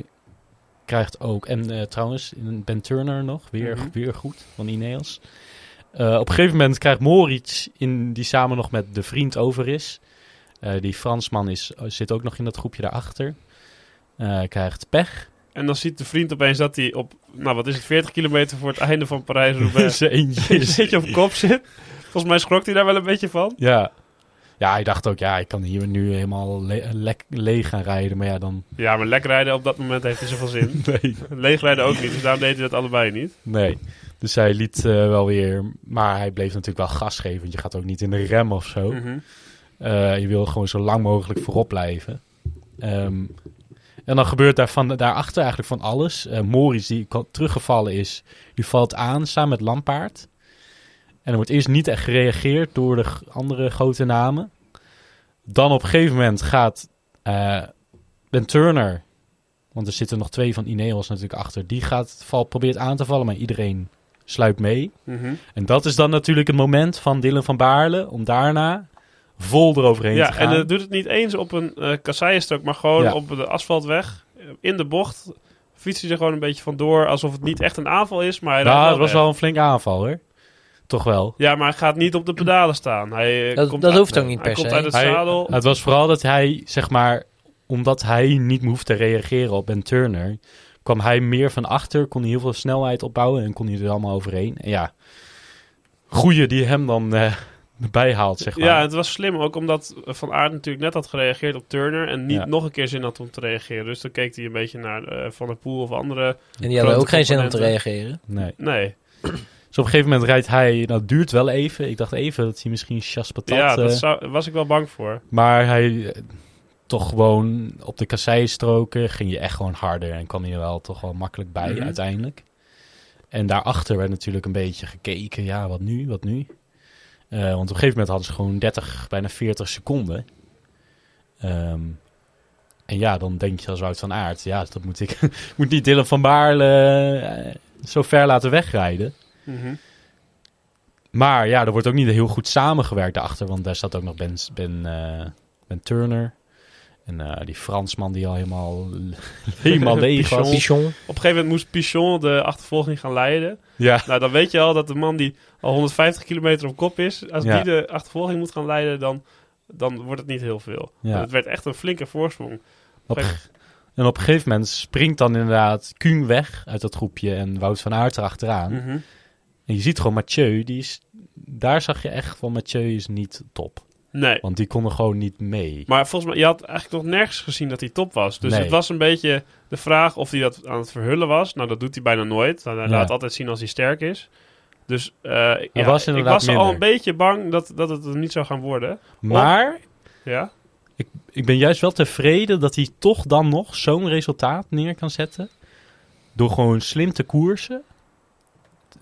[SPEAKER 2] krijgt ook... En eh, trouwens, Ben Turner nog, weer,
[SPEAKER 1] Mhm.
[SPEAKER 2] weer goed, van Ineos. Eh, op een gegeven moment krijgt Moritz, in, die samen nog met de vriend over is... eh, die Fransman is, zit ook nog in dat groepje daarachter. eh, krijgt pech.
[SPEAKER 1] En dan ziet de vriend opeens dat hij op, nou, wat is het, 40 kilometer voor het einde van Parijs-Roubaix
[SPEAKER 2] Zijn eentje
[SPEAKER 1] een beetje op kop zit. Volgens mij schrok hij daar wel een beetje van.
[SPEAKER 2] Ja. ja, hij dacht ook, ja, ik kan hier nu helemaal le- lek- leeg gaan rijden. Maar ja, dan...
[SPEAKER 1] Ja, maar lek rijden op dat moment heeft hij zoveel zin.
[SPEAKER 2] Nee,
[SPEAKER 1] Leegrijden ook niet, dus daarom deed hij dat allebei niet.
[SPEAKER 2] Nee. Dus hij liet eh, wel weer. Maar hij bleef natuurlijk wel gas geven. Want je gaat ook niet in de rem of zo.
[SPEAKER 1] Mhm.
[SPEAKER 2] Eh, je wil gewoon zo lang mogelijk voorop blijven. Ehm, en dan gebeurt daar van, daarachter eigenlijk van alles. Eh Morris, die ko- teruggevallen is, die valt aan samen met Lampaard. En er wordt eerst niet echt gereageerd door de g- andere grote namen. Dan op een gegeven moment gaat eh, Ben Turner, want er zitten nog twee van Ineos natuurlijk achter, die gaat, val, probeert aan te vallen, maar iedereen sluit mee.
[SPEAKER 1] Mhm.
[SPEAKER 2] En dat is dan natuurlijk het moment van Dylan van Baarle om daarna vol eroverheen
[SPEAKER 1] Ja,
[SPEAKER 2] te gaan.
[SPEAKER 1] en eh, doet het niet eens op een eh kasseienstok, maar gewoon
[SPEAKER 2] Ja.
[SPEAKER 1] op de asfaltweg, eh, in de bocht. Fietst hij er gewoon een beetje vandoor, alsof het niet echt een aanval is, maar hij
[SPEAKER 2] nou,
[SPEAKER 1] rijdt
[SPEAKER 2] dat was
[SPEAKER 1] weg.
[SPEAKER 2] wel een flinke aanval hoor. Toch wel.
[SPEAKER 1] Ja, maar hij gaat niet op de pedalen staan. Hij, eh,
[SPEAKER 3] Dat-
[SPEAKER 1] komt
[SPEAKER 3] dat
[SPEAKER 1] uit-
[SPEAKER 3] hoeft ook niet
[SPEAKER 1] Hij
[SPEAKER 3] per
[SPEAKER 1] komt
[SPEAKER 3] se.
[SPEAKER 1] uit het
[SPEAKER 2] Hij-
[SPEAKER 1] zadel.
[SPEAKER 2] Het was vooral dat hij, zeg maar, omdat hij niet meer hoeft te reageren op Ben Turner, kwam hij meer van achter, kon hij heel veel snelheid opbouwen en kon hij er allemaal overheen. En ja, goeie die hem dan eh bijhaalt, zeg maar.
[SPEAKER 1] Ja, het was slim ook omdat eh, Van Aert natuurlijk net had gereageerd op Turner en niet
[SPEAKER 2] Ja.
[SPEAKER 1] nog een keer zin had om te reageren. Dus dan keek hij een beetje naar eh, Van der Poel of andere.
[SPEAKER 3] En die hadden
[SPEAKER 1] grote
[SPEAKER 3] ook geen zin om te
[SPEAKER 1] componenten.
[SPEAKER 3] reageren.
[SPEAKER 2] Nee.
[SPEAKER 1] Nee,
[SPEAKER 2] Dus op een gegeven moment rijdt hij, dat duurt wel even. Ik dacht even dat hij misschien Chas Patat...
[SPEAKER 1] ja,
[SPEAKER 2] eh,
[SPEAKER 1] daar was ik wel bang voor.
[SPEAKER 2] Maar hij eh, toch gewoon op de kasseienstroken ging je echt gewoon harder en kwam je wel toch wel makkelijk bij
[SPEAKER 1] Mhm.
[SPEAKER 2] uiteindelijk. En daarachter werd natuurlijk een beetje gekeken, ja, wat nu, wat nu? Eh, want op een gegeven moment hadden ze gewoon 30, bijna 40 seconden. Ehm, en ja, dan denk je als Wout van Aert, ja, dat moet ik, ik moet niet Dylan van Baarle eh, zo ver laten wegrijden.
[SPEAKER 1] Mhm.
[SPEAKER 2] Maar ja, er wordt ook niet heel goed samengewerkt daarachter. Want daar staat ook nog Ben, ben, eh, ben Turner. En eh, die Fransman die al helemaal, helemaal leeg was.
[SPEAKER 1] Op
[SPEAKER 3] Pichon.
[SPEAKER 1] een gegeven moment moest Pichon de achtervolging gaan leiden.
[SPEAKER 2] Ja,
[SPEAKER 1] Nou, dan weet je al dat de man die al 150 kilometer op kop is, als
[SPEAKER 2] Ja.
[SPEAKER 1] die de achtervolging moet gaan leiden, dan, dan wordt het niet heel veel.
[SPEAKER 2] Ja.
[SPEAKER 1] Het werd echt een flinke voorsprong.
[SPEAKER 2] Op- en op een gegeven moment springt dan inderdaad Kuhn weg uit dat groepje. En Wout van Aert erachteraan.
[SPEAKER 1] Mhm.
[SPEAKER 2] En je ziet gewoon Mathieu, die is, daar zag je echt van Mathieu is niet top.
[SPEAKER 1] Nee.
[SPEAKER 2] Want die kon er gewoon niet mee.
[SPEAKER 1] Maar volgens mij, je had eigenlijk nog nergens gezien dat hij top was. Dus
[SPEAKER 2] Nee.
[SPEAKER 1] het was een beetje de vraag of hij dat aan het verhullen was. Nou, dat doet hij bijna nooit. Hij laat
[SPEAKER 2] Ja.
[SPEAKER 1] altijd zien als hij sterk is. Dus eh, ja,
[SPEAKER 2] was
[SPEAKER 1] ik
[SPEAKER 2] inderdaad
[SPEAKER 1] was al
[SPEAKER 2] minder.
[SPEAKER 1] een beetje bang dat, dat het hem niet zou gaan worden.
[SPEAKER 2] Maar
[SPEAKER 1] Ja?
[SPEAKER 2] ik ben juist wel tevreden dat hij toch dan nog zo'n resultaat neer kan zetten. Door gewoon slim te koersen.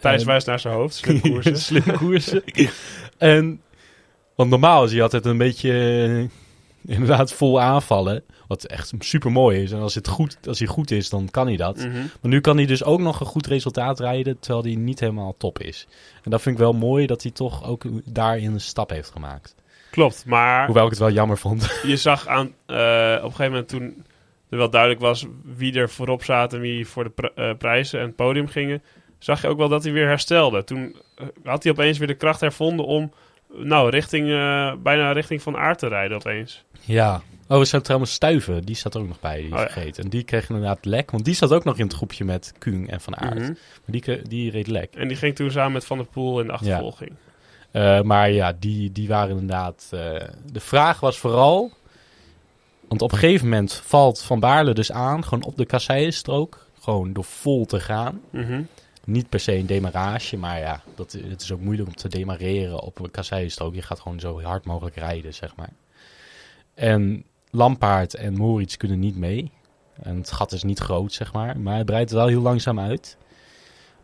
[SPEAKER 1] Thijs
[SPEAKER 2] Eh,
[SPEAKER 1] wijst naar zijn hoofd. Slim koersen.
[SPEAKER 2] slim koersen. en, want normaal is hij altijd een beetje eh, inderdaad vol aanvallen. Wat echt super mooi is. En als, het goed, als hij goed is, dan kan hij dat.
[SPEAKER 1] Mhm.
[SPEAKER 2] Maar nu kan hij dus ook nog een goed resultaat rijden. Terwijl hij niet helemaal top is. En dat vind ik wel mooi dat hij toch ook daarin een stap heeft gemaakt.
[SPEAKER 1] Klopt, maar
[SPEAKER 2] Hoewel ik het wel jammer vond.
[SPEAKER 1] je zag aan, eh, op een gegeven moment toen er wel duidelijk was wie er voorop zaten en wie voor de pri- eh, prijzen en het podium gingen, zag je ook wel dat hij weer herstelde. Toen eh, had hij opeens weer de kracht hervonden om, eh, nou, richting, eh, bijna richting Van Aert te rijden opeens.
[SPEAKER 2] ja. Oh, we zijn trouwens Stuiven. Die staat er ook nog bij. Die is
[SPEAKER 1] Oh ja.
[SPEAKER 2] vergeten. En die kreeg inderdaad lek. Want die zat ook nog in het groepje met Kuhn en Van Aert.
[SPEAKER 1] Mhm.
[SPEAKER 2] Maar die, kre- die reed lek.
[SPEAKER 1] En die ging toen samen met Van der Poel in de achtervolging.
[SPEAKER 2] Eh, maar ja, die, die waren inderdaad. eh, de vraag was vooral: Want op een gegeven moment valt Van Baarle dus aan, gewoon op de kasseienstrook. Gewoon door vol te gaan.
[SPEAKER 1] Mhm.
[SPEAKER 2] Niet per se een demarage, maar ja, dat, het is ook moeilijk om te demareren op een kasseienstrook. Je gaat gewoon zo hard mogelijk rijden, zeg maar. En Lampaard en Moritz kunnen niet mee. En het gat is niet groot, zeg maar. Maar het breidt wel heel langzaam uit.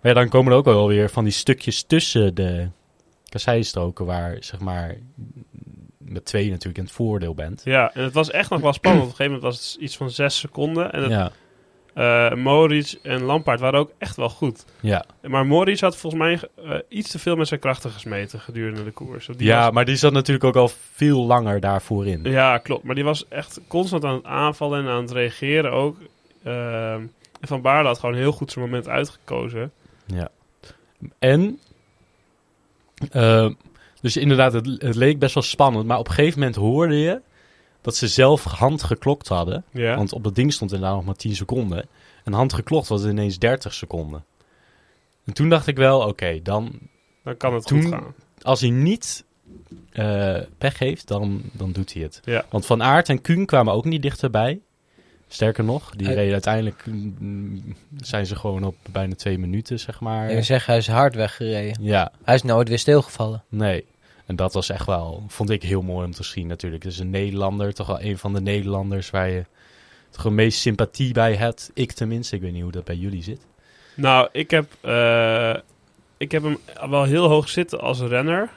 [SPEAKER 2] Maar ja, dan komen er ook wel weer van die stukjes tussen de kasseienstroken... waar, zeg maar, met twee natuurlijk in het voordeel bent.
[SPEAKER 1] Ja, en het was echt nog wel spannend. Op een gegeven moment was het iets van zes seconden. En het,
[SPEAKER 2] Ja,
[SPEAKER 1] eh, Moritz en Lampaard waren ook echt wel goed.
[SPEAKER 2] ja.
[SPEAKER 1] Maar Moritz had volgens mij eh, iets te veel met zijn krachten gesmeten gedurende de koers. Die
[SPEAKER 2] ja
[SPEAKER 1] was-
[SPEAKER 2] maar die zat natuurlijk ook al veel langer daarvoor in.
[SPEAKER 1] ja, klopt. Maar die was echt constant aan het aanvallen en aan het reageren ook. Ehm, en Van Baarle had gewoon heel goed zijn moment uitgekozen.
[SPEAKER 2] Ja. En, eh, dus inderdaad, het, het leek best wel spannend. Maar op een gegeven moment hoorde je dat ze zelf handgeklokt hadden.
[SPEAKER 1] Ja,
[SPEAKER 2] Want op dat ding stond inderdaad nog maar 10 seconden. En handgeklokt was het ineens 30 seconden. En toen dacht ik wel, oké, dan...
[SPEAKER 1] dan kan het goed
[SPEAKER 2] toen-
[SPEAKER 1] gaan.
[SPEAKER 2] Als hij niet eh, pech heeft, dan, dan doet hij het.
[SPEAKER 1] Ja.
[SPEAKER 2] Want Van Aert en Kuhn kwamen ook niet dichterbij. Sterker nog, die
[SPEAKER 3] Hij-
[SPEAKER 2] reden uiteindelijk... mm, zijn ze gewoon op bijna twee minuten, zeg maar.
[SPEAKER 3] Ik zeg, hij is hard weggereden.
[SPEAKER 2] Ja.
[SPEAKER 3] Hij is nooit weer stilgevallen.
[SPEAKER 2] Nee. En dat was echt wel, vond ik heel mooi om te zien natuurlijk. Dus een Nederlander, toch wel een van de Nederlanders waar je toch het meest sympathie bij hebt. Ik tenminste, ik weet niet hoe dat bij jullie zit.
[SPEAKER 1] Nou, ik heb, eh, ik heb hem wel heel hoog zitten als renner.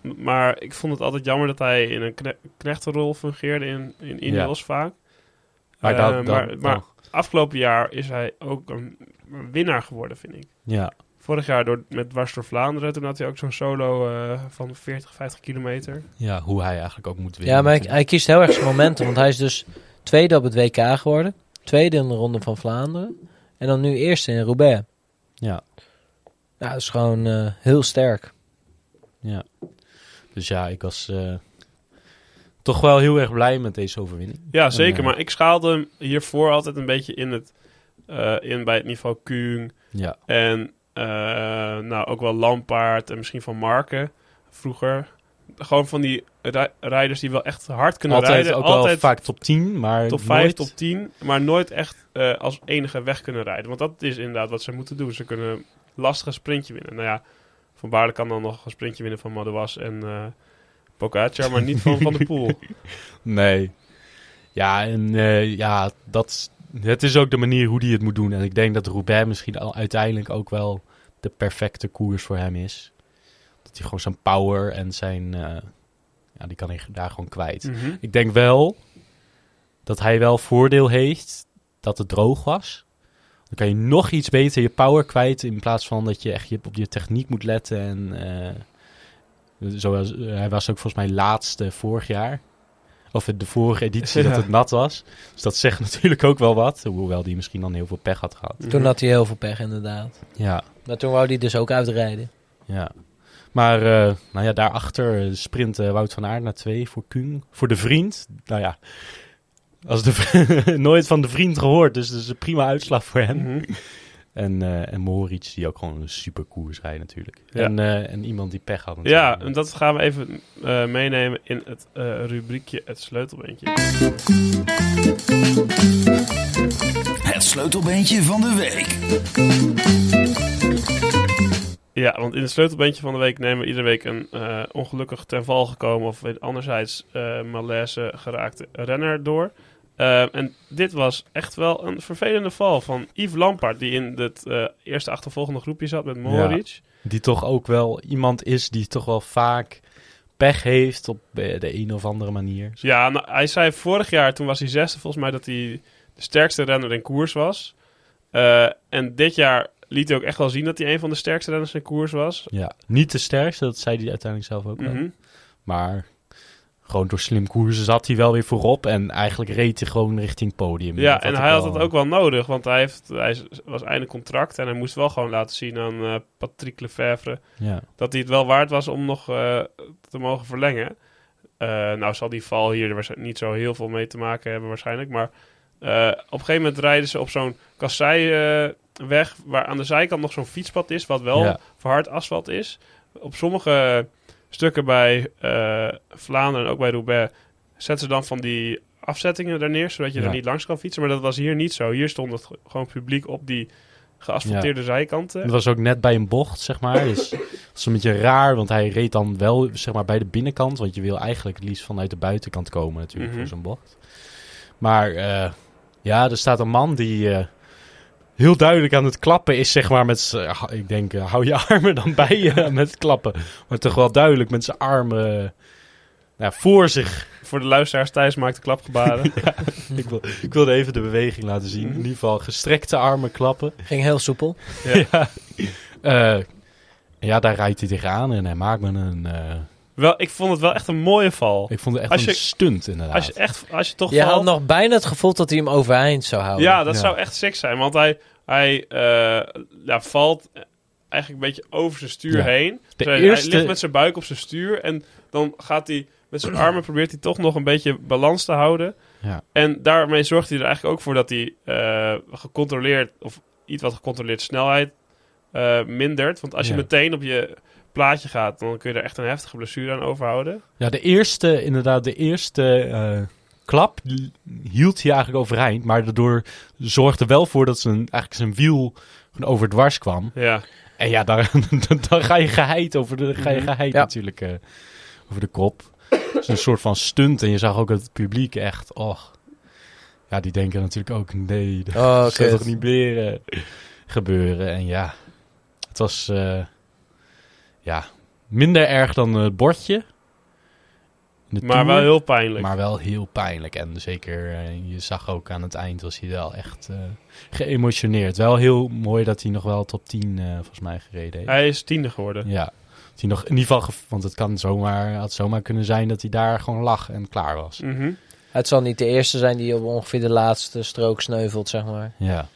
[SPEAKER 1] M- Maar ik vond het altijd jammer dat hij in een kne knechtenrol fungeerde in, in Ineos vaak.
[SPEAKER 2] Maar,
[SPEAKER 1] Eh,
[SPEAKER 2] dat, dat- oh.
[SPEAKER 1] maar, maar
[SPEAKER 2] dat-
[SPEAKER 1] afgelopen jaar is hij ook een een winnaar geworden, vind ik.
[SPEAKER 2] ja,
[SPEAKER 1] Vorig jaar door, met Dwars door Vlaanderen, toen had hij ook zo'n solo eh, van 40, 50 kilometer.
[SPEAKER 2] ja, hoe hij eigenlijk ook moet winnen.
[SPEAKER 3] Ja, maar hij,
[SPEAKER 2] natuurlijk.
[SPEAKER 3] hij kiest heel erg zijn momentum. Want hij is dus tweede op het WK geworden. Tweede in de Ronde van Vlaanderen. En dan nu eerste in Roubaix.
[SPEAKER 2] Ja,
[SPEAKER 3] Ja, dat is gewoon eh, heel sterk.
[SPEAKER 2] ja. Dus ja, ik was eh, toch wel heel erg blij met deze overwinning.
[SPEAKER 1] Ja, zeker.
[SPEAKER 2] ja.
[SPEAKER 1] Maar ik schaalde hem hiervoor altijd een beetje in, het, eh, in bij het niveau Kuhn.
[SPEAKER 2] Ja,
[SPEAKER 1] En eh, nou, ook wel Lampaard en misschien Van Marken vroeger. Gewoon van die rij- rijders die wel echt hard kunnen
[SPEAKER 2] altijd
[SPEAKER 1] rijden.
[SPEAKER 2] ook wel
[SPEAKER 1] altijd
[SPEAKER 2] vaak top 10, maar
[SPEAKER 1] top 5,
[SPEAKER 2] nooit,
[SPEAKER 1] top 10. Maar nooit echt eh, als enige weg kunnen rijden. Want dat is inderdaad wat ze moeten doen. Ze kunnen een lastig sprintje winnen. Nou ja, Van Baarle kan dan nog een sprintje winnen van Madouas en eh Pogacar. Maar niet van Van de Poel.
[SPEAKER 2] Nee. Ja, en eh, ja, dat, is- het is ook de manier hoe hij het moet doen. En ik denk dat Roubaix misschien al uiteindelijk ook wel de perfecte koers voor hem is. Dat hij gewoon zijn power en zijn... eh, ja, die kan hij daar gewoon kwijt.
[SPEAKER 1] Mhm.
[SPEAKER 2] Ik denk wel dat hij wel voordeel heeft dat het droog was. Dan kan je nog iets beter je power kwijt in plaats van dat je echt je- op je techniek moet letten. En, eh, zoals, eh, hij was ook volgens mij laatste vorig jaar. Of de vorige editie dat
[SPEAKER 1] Ja.
[SPEAKER 2] het nat was. Dus dat zegt natuurlijk ook wel wat. Hoewel die misschien dan heel veel pech had gehad.
[SPEAKER 1] Mhm.
[SPEAKER 3] Toen had hij heel veel pech, inderdaad.
[SPEAKER 2] Ja,
[SPEAKER 3] Maar toen wou hij dus ook uitrijden.
[SPEAKER 2] ja. Maar eh, nou ja, daarachter eh, sprint eh, Wout van Aert naar twee voor Kuhn. Voor de vriend, nou ja. Als de vri- nooit van de vriend gehoord, dus dat is een prima uitslag voor hem.
[SPEAKER 1] Mhm.
[SPEAKER 2] En, eh en Moritz, die ook gewoon een super koers rijdt natuurlijk.
[SPEAKER 1] Ja.
[SPEAKER 2] En, eh, en iemand die pech had natuurlijk.
[SPEAKER 1] Ja, en dat gaan we even eh, meenemen in het eh, rubriekje Het Sleutelbeentje.
[SPEAKER 4] Het sleutelbeentje van de week.
[SPEAKER 1] Ja, want in het sleutelbeentje van de week nemen we iedere week een eh, ongelukkig ten val gekomen of weet- anderzijds eh malaise geraakte renner door. Eh, en dit was echt wel een vervelende val van Yves Lampaard, die in het eh, eerste achtervolgende groepje zat met Moritz.
[SPEAKER 2] Die toch ook wel iemand is die toch wel vaak pech heeft op eh, de een of andere manier.
[SPEAKER 1] Ja, nou, hij zei vorig jaar, toen was hij zesde volgens mij, dat hij de sterkste renner in koers was. Eh, en dit jaar liet hij ook echt wel zien dat hij een van de sterkste renners in koers was.
[SPEAKER 2] Ja, niet de sterkste, dat zei hij uiteindelijk zelf ook wel.
[SPEAKER 1] Mhm.
[SPEAKER 2] Maar gewoon door slim koersen zat hij wel weer voorop. En eigenlijk reed hij gewoon richting podium.
[SPEAKER 1] Ja,
[SPEAKER 2] Dat eh,
[SPEAKER 1] en
[SPEAKER 2] ik
[SPEAKER 1] hij had dat ook wel nodig, want hij, heeft, hij is- was einde contract en hij moest wel gewoon laten zien aan eh Patrick Lefevre
[SPEAKER 2] eh, Ja,
[SPEAKER 1] dat hij het wel waard was om nog eh, te mogen verlengen. Eh, nou zal die val hier waarschijnlijk niet zo heel veel mee te maken hebben waarschijnlijk, maar eh, op een gegeven moment rijden ze op zo'n kasseiweg weg waar aan de zijkant nog zo'n fietspad is, wat wel
[SPEAKER 2] Ja.
[SPEAKER 1] verhard asfalt is. Op sommige stukken bij eh, Vlaanderen en ook bij Roubaix zetten ze dan van die afzettingen daar neer, zodat je
[SPEAKER 2] Ja.
[SPEAKER 1] er niet langs kan fietsen. Maar dat was hier niet zo. Hier stond het ge- gewoon publiek op die geasfalteerde zijkanten.
[SPEAKER 2] Het was ook net bij een bocht, zeg maar. Dus dat is een beetje raar, want hij reed dan wel zeg maar, bij de binnenkant. Want je wil eigenlijk het liefst vanuit de buitenkant komen natuurlijk
[SPEAKER 1] Mhm.
[SPEAKER 2] voor zo'n bocht. Maar eh, ja, er staat een man die eh, heel duidelijk aan het klappen is, zeg maar. Met z'n- ah, ik denk, eh, hou je armen dan bij je met klappen. Maar toch wel duidelijk met zijn armen eh, nou, voor zich.
[SPEAKER 1] Voor de luisteraars thuis maakte klapgebaren.
[SPEAKER 2] Ik, wil, ik wilde even de beweging laten
[SPEAKER 1] Mhm.
[SPEAKER 2] zien. In ieder geval gestrekte armen klappen.
[SPEAKER 3] Ging heel soepel.
[SPEAKER 2] Ja. Eh, ja, daar rijdt hij tegenaan en hij maakt me een... eh,
[SPEAKER 1] wel, ik vond het wel echt een mooie val.
[SPEAKER 2] ik vond het echt
[SPEAKER 1] Als je-
[SPEAKER 2] een stunt inderdaad.
[SPEAKER 1] Als je, echt, als je toch
[SPEAKER 3] Je had
[SPEAKER 1] valt...
[SPEAKER 3] nog bijna het gevoel dat hij hem overeind zou houden.
[SPEAKER 1] Ja, dat
[SPEAKER 2] Ja.
[SPEAKER 1] zou echt sick zijn. Want hij, hij eh, ja, valt eigenlijk een beetje over zijn stuur
[SPEAKER 2] Ja.
[SPEAKER 1] heen. Terwijl
[SPEAKER 2] eerste-
[SPEAKER 1] Hij ligt met zijn buik op zijn stuur. En dan gaat hij met zijn armen probeert hij toch nog een beetje balans te houden.
[SPEAKER 2] Ja.
[SPEAKER 1] En daarmee zorgt hij er eigenlijk ook voor dat hij eh, gecontroleerd... of iets wat gecontroleerd snelheid eh, mindert. Want als je
[SPEAKER 2] Ja.
[SPEAKER 1] meteen op je plaatje gaat... dan kun je er echt een heftige blessure aan overhouden.
[SPEAKER 2] Ja, de eerste, inderdaad, de eerste eh, klap l- hield hij eigenlijk overeind. Maar daardoor zorgde wel voor dat zijn, eigenlijk zijn wiel gewoon overdwars kwam.
[SPEAKER 1] Ja.
[SPEAKER 2] En ja, daar, dan, dan ga je geheid over de, dan ga je
[SPEAKER 1] Mhm.
[SPEAKER 2] geheid
[SPEAKER 3] Ja.
[SPEAKER 2] natuurlijk eh, over de kop. Het is een soort van stunt. En je zag ook het publiek echt, och. Ja, die denken natuurlijk ook, nee, dat
[SPEAKER 3] Oh,
[SPEAKER 2] zou
[SPEAKER 3] kut.
[SPEAKER 2] toch niet meer eh, gebeuren. En ja, het was eh, ja, minder erg dan het bordje. In de
[SPEAKER 1] Maar
[SPEAKER 2] Tour,
[SPEAKER 1] wel heel pijnlijk.
[SPEAKER 2] maar wel heel pijnlijk. En zeker, eh, je zag ook aan het eind was hij wel echt eh, geëmotioneerd. Wel heel mooi dat hij nog wel top 10 eh, volgens mij gereden heeft.
[SPEAKER 1] Hij is tiende geworden.
[SPEAKER 2] Ja. Dat hij nog in ieder geval, gev- want het kan zomaar, had zomaar kunnen zijn dat hij daar gewoon lag en klaar was.
[SPEAKER 1] Mhm.
[SPEAKER 3] Het zal niet de eerste zijn die op ongeveer de laatste strook sneuvelt, zeg maar.
[SPEAKER 2] Ja.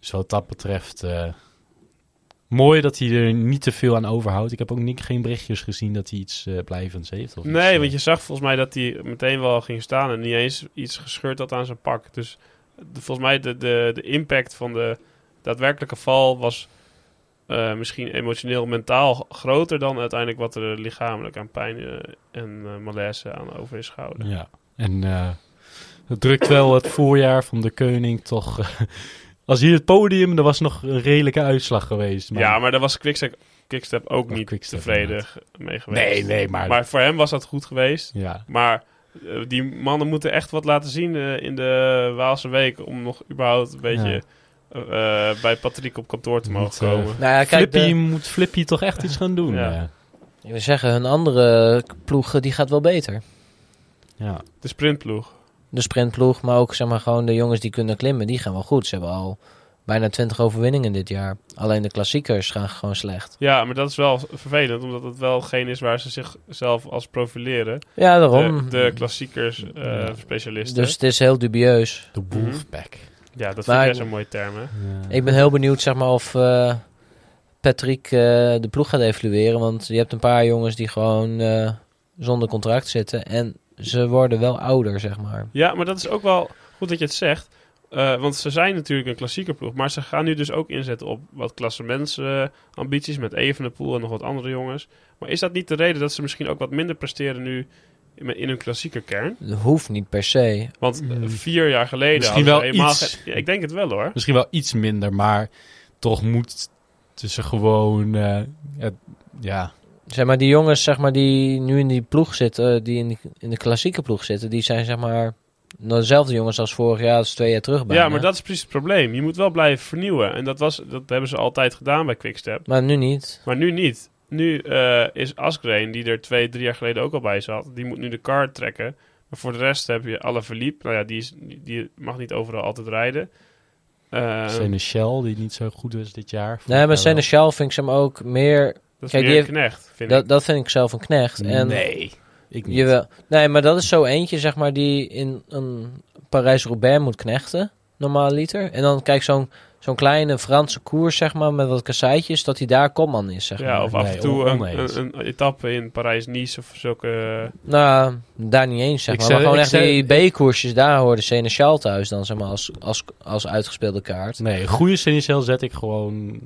[SPEAKER 2] Dus wat dat betreft, eh, mooi dat hij er niet te veel aan overhoudt. Ik heb ook niet, geen berichtjes gezien dat hij iets eh, blijvends heeft. Of eh.
[SPEAKER 1] Nee,
[SPEAKER 2] iets,
[SPEAKER 1] want je zag volgens mij dat hij meteen wel ging staan en niet eens iets gescheurd had aan zijn pak. Dus de- volgens mij de, de, de impact van de daadwerkelijke val was eh, misschien emotioneel, mentaal g- groter dan uiteindelijk wat er lichamelijk aan pijn eh, en eh, malaise aan over is gehouden.
[SPEAKER 2] eh, ja. En eh, het drukt wel het voorjaar van de koning toch. eh, als hier het podium, er was nog een redelijke uitslag geweest. Maar,
[SPEAKER 1] Ja, maar daar was Quickstep, Quickstep ook
[SPEAKER 2] Of
[SPEAKER 1] niet
[SPEAKER 2] Oh, Quickstep,
[SPEAKER 1] tevreden g- mee geweest.
[SPEAKER 2] Nee, nee, maar-
[SPEAKER 1] Maar voor hem was dat goed geweest.
[SPEAKER 2] Ja.
[SPEAKER 1] Maar eh, die mannen moeten echt wat laten zien eh, in de Waalse Week. Om nog überhaupt een beetje
[SPEAKER 2] Ja.
[SPEAKER 1] eh, eh, bij Patrick op kantoor te
[SPEAKER 2] Moet,
[SPEAKER 1] mogen
[SPEAKER 2] eh,
[SPEAKER 1] komen.
[SPEAKER 3] Nou ja, kijk,
[SPEAKER 2] Flippy
[SPEAKER 3] de,
[SPEAKER 2] moet Flippy toch echt iets gaan doen.
[SPEAKER 1] Ja.
[SPEAKER 2] Ja.
[SPEAKER 3] ik wil zeggen, hun andere ploeg eh, die gaat wel beter.
[SPEAKER 2] ja.
[SPEAKER 1] De sprintploeg.
[SPEAKER 3] De sprintploeg, maar ook zeg maar gewoon de jongens die kunnen klimmen, die gaan wel goed. Ze hebben al bijna 20 overwinningen dit jaar. Alleen de klassiekers gaan gewoon slecht.
[SPEAKER 1] Ja, maar dat is wel vervelend, omdat het wel geen is waar ze zichzelf als profileren.
[SPEAKER 3] Ja,
[SPEAKER 1] De,
[SPEAKER 3] daarom. Mm.
[SPEAKER 1] de klassiekers eh,
[SPEAKER 2] Ja.
[SPEAKER 1] specialisten.
[SPEAKER 3] dus het is heel dubieus.
[SPEAKER 2] De Wolfpack.
[SPEAKER 1] ja, dat
[SPEAKER 3] Maar-
[SPEAKER 1] vind jij zo'n mooie term, hè?
[SPEAKER 2] Ja.
[SPEAKER 3] Ik ben heel benieuwd zeg maar of eh, Patrick eh, de ploeg gaat evalueren. Want je hebt een paar jongens die gewoon eh, zonder contract zitten. En ze worden wel ouder, zeg maar.
[SPEAKER 1] Ja, maar dat is ook wel goed dat je het zegt. Eh, want ze zijn natuurlijk een klassieke ploeg. Maar ze gaan nu dus ook inzetten op wat klassemensambities. met Evenepoel en nog wat andere jongens. Maar is dat niet de reden dat ze misschien ook wat minder presteren nu in, in hun klassieke kern?
[SPEAKER 3] Dat hoeft niet per se.
[SPEAKER 1] Want eh,
[SPEAKER 2] Hmm.
[SPEAKER 1] vier jaar geleden.
[SPEAKER 2] Misschien
[SPEAKER 1] hadden ze
[SPEAKER 2] wel
[SPEAKER 1] helemaal
[SPEAKER 2] iets.
[SPEAKER 1] geen- Ja, ik denk het wel hoor.
[SPEAKER 2] Misschien wel iets minder, maar toch moet tussen gewoon. eh, het- ja,
[SPEAKER 3] Zeg maar, die jongens zeg maar, die nu in die ploeg zitten, eh, die in, die- in de klassieke ploeg zitten, die zijn zeg maar nou, dezelfde jongens als vorig jaar, dat is twee jaar terug bijna.
[SPEAKER 1] Ja, maar dat is precies het probleem. Je moet wel blijven vernieuwen. En dat, was, dat hebben ze altijd gedaan bij Quickstep.
[SPEAKER 3] Maar nu niet.
[SPEAKER 1] Maar nu niet. Nu eh, is Asgreen, die er twee, drie jaar geleden ook al bij zat, die moet nu de car trekken. Maar voor de rest heb je alle verliep. Nou ja, die, is, die mag niet overal altijd rijden. Eh,
[SPEAKER 2] Seneschal, die niet zo goed was dit jaar. Nou,
[SPEAKER 3] Nee, maar Seneschal vind ik ze hem ook meer...
[SPEAKER 1] dat is
[SPEAKER 3] Kijk,
[SPEAKER 1] meer
[SPEAKER 3] die
[SPEAKER 1] een knecht, vind ik.
[SPEAKER 3] Dat, dat vind ik zelf een knecht. En
[SPEAKER 2] Nee, ik niet.
[SPEAKER 3] Jawel. Nee, maar dat is zo eentje, zeg maar, die in een Parijs-Roubaix moet knechten, normaal liter. En dan kijk zo'n zo'n kleine Franse koers, zeg maar, met wat kasseitjes, dat hij daar kopman is, zeg maar.
[SPEAKER 1] Ja, of af
[SPEAKER 2] Nee,
[SPEAKER 1] en toe
[SPEAKER 2] on-
[SPEAKER 1] een,
[SPEAKER 2] oneens.
[SPEAKER 1] een- een etappe in Parijs-Nice of zulke...
[SPEAKER 3] Nou, daar niet eens, zeg
[SPEAKER 2] Ik
[SPEAKER 3] maar.
[SPEAKER 2] zei-
[SPEAKER 3] maar gewoon
[SPEAKER 2] ik
[SPEAKER 3] echt
[SPEAKER 2] zei-
[SPEAKER 3] die B-koersjes, daar hoorde Seneschal thuis dan, zeg maar, als, als, als uitgespeelde kaart.
[SPEAKER 2] Nee, een goede Seneschal zet ik gewoon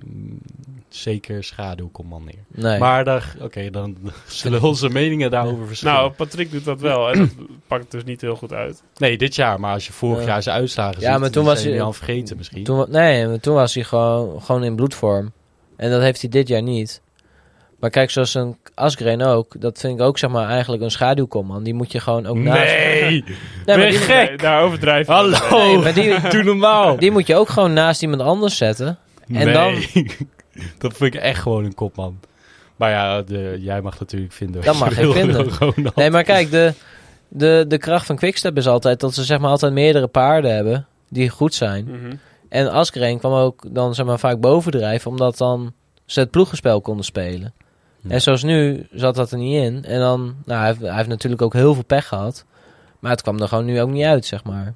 [SPEAKER 2] zeker schaduwcommandeer.
[SPEAKER 3] Nee.
[SPEAKER 2] Maar daar, oké, dan zullen onze meningen daarover verschillen.
[SPEAKER 1] Nou, Patrick doet dat wel en dat pakt dus niet heel goed uit.
[SPEAKER 2] nee, dit jaar, maar als je vorig
[SPEAKER 3] Ja.
[SPEAKER 2] jaar zijn uitslagen
[SPEAKER 3] Ja,
[SPEAKER 2] ziet,
[SPEAKER 3] maar toen
[SPEAKER 2] die
[SPEAKER 3] was
[SPEAKER 2] zijn
[SPEAKER 3] hij-
[SPEAKER 2] al vergeten misschien.
[SPEAKER 3] Toen, wa- nee, maar toen was hij gewoon, gewoon in bloedvorm. En dat heeft hij dit jaar niet. Maar kijk, zoals een Asgreen ook, dat vind ik ook zeg maar eigenlijk een schaduwkomman. Die moet je gewoon ook naast.
[SPEAKER 2] nee,
[SPEAKER 3] Nee,
[SPEAKER 2] ben
[SPEAKER 3] maar
[SPEAKER 2] je
[SPEAKER 3] die,
[SPEAKER 2] gek?
[SPEAKER 1] Nee, daar overdrijf je wel.
[SPEAKER 2] Hallo,
[SPEAKER 3] Nee, maar die-
[SPEAKER 2] doe normaal.
[SPEAKER 3] die moet je ook gewoon naast iemand anders zetten. En
[SPEAKER 2] nee.
[SPEAKER 3] dan-
[SPEAKER 2] dat vind ik echt gewoon een kopman. Maar ja, de, jij mag natuurlijk vinden. wat
[SPEAKER 3] Dat
[SPEAKER 2] je
[SPEAKER 3] mag ik
[SPEAKER 2] wil,
[SPEAKER 3] vinden.
[SPEAKER 2] Ronald.
[SPEAKER 3] Nee, maar kijk, de, de, de kracht van Quickstep is altijd dat ze zeg maar altijd meerdere paarden hebben die goed zijn.
[SPEAKER 1] Mhm.
[SPEAKER 3] En Asgreen kwam ook dan zeg maar vaak bovendrijven, omdat dan ze het ploegenspel konden spelen.
[SPEAKER 2] Ja.
[SPEAKER 3] En zoals nu zat dat er niet in. En dan, nou, hij heeft, hij heeft natuurlijk ook heel veel pech gehad. Maar het kwam er gewoon nu ook niet uit, zeg maar.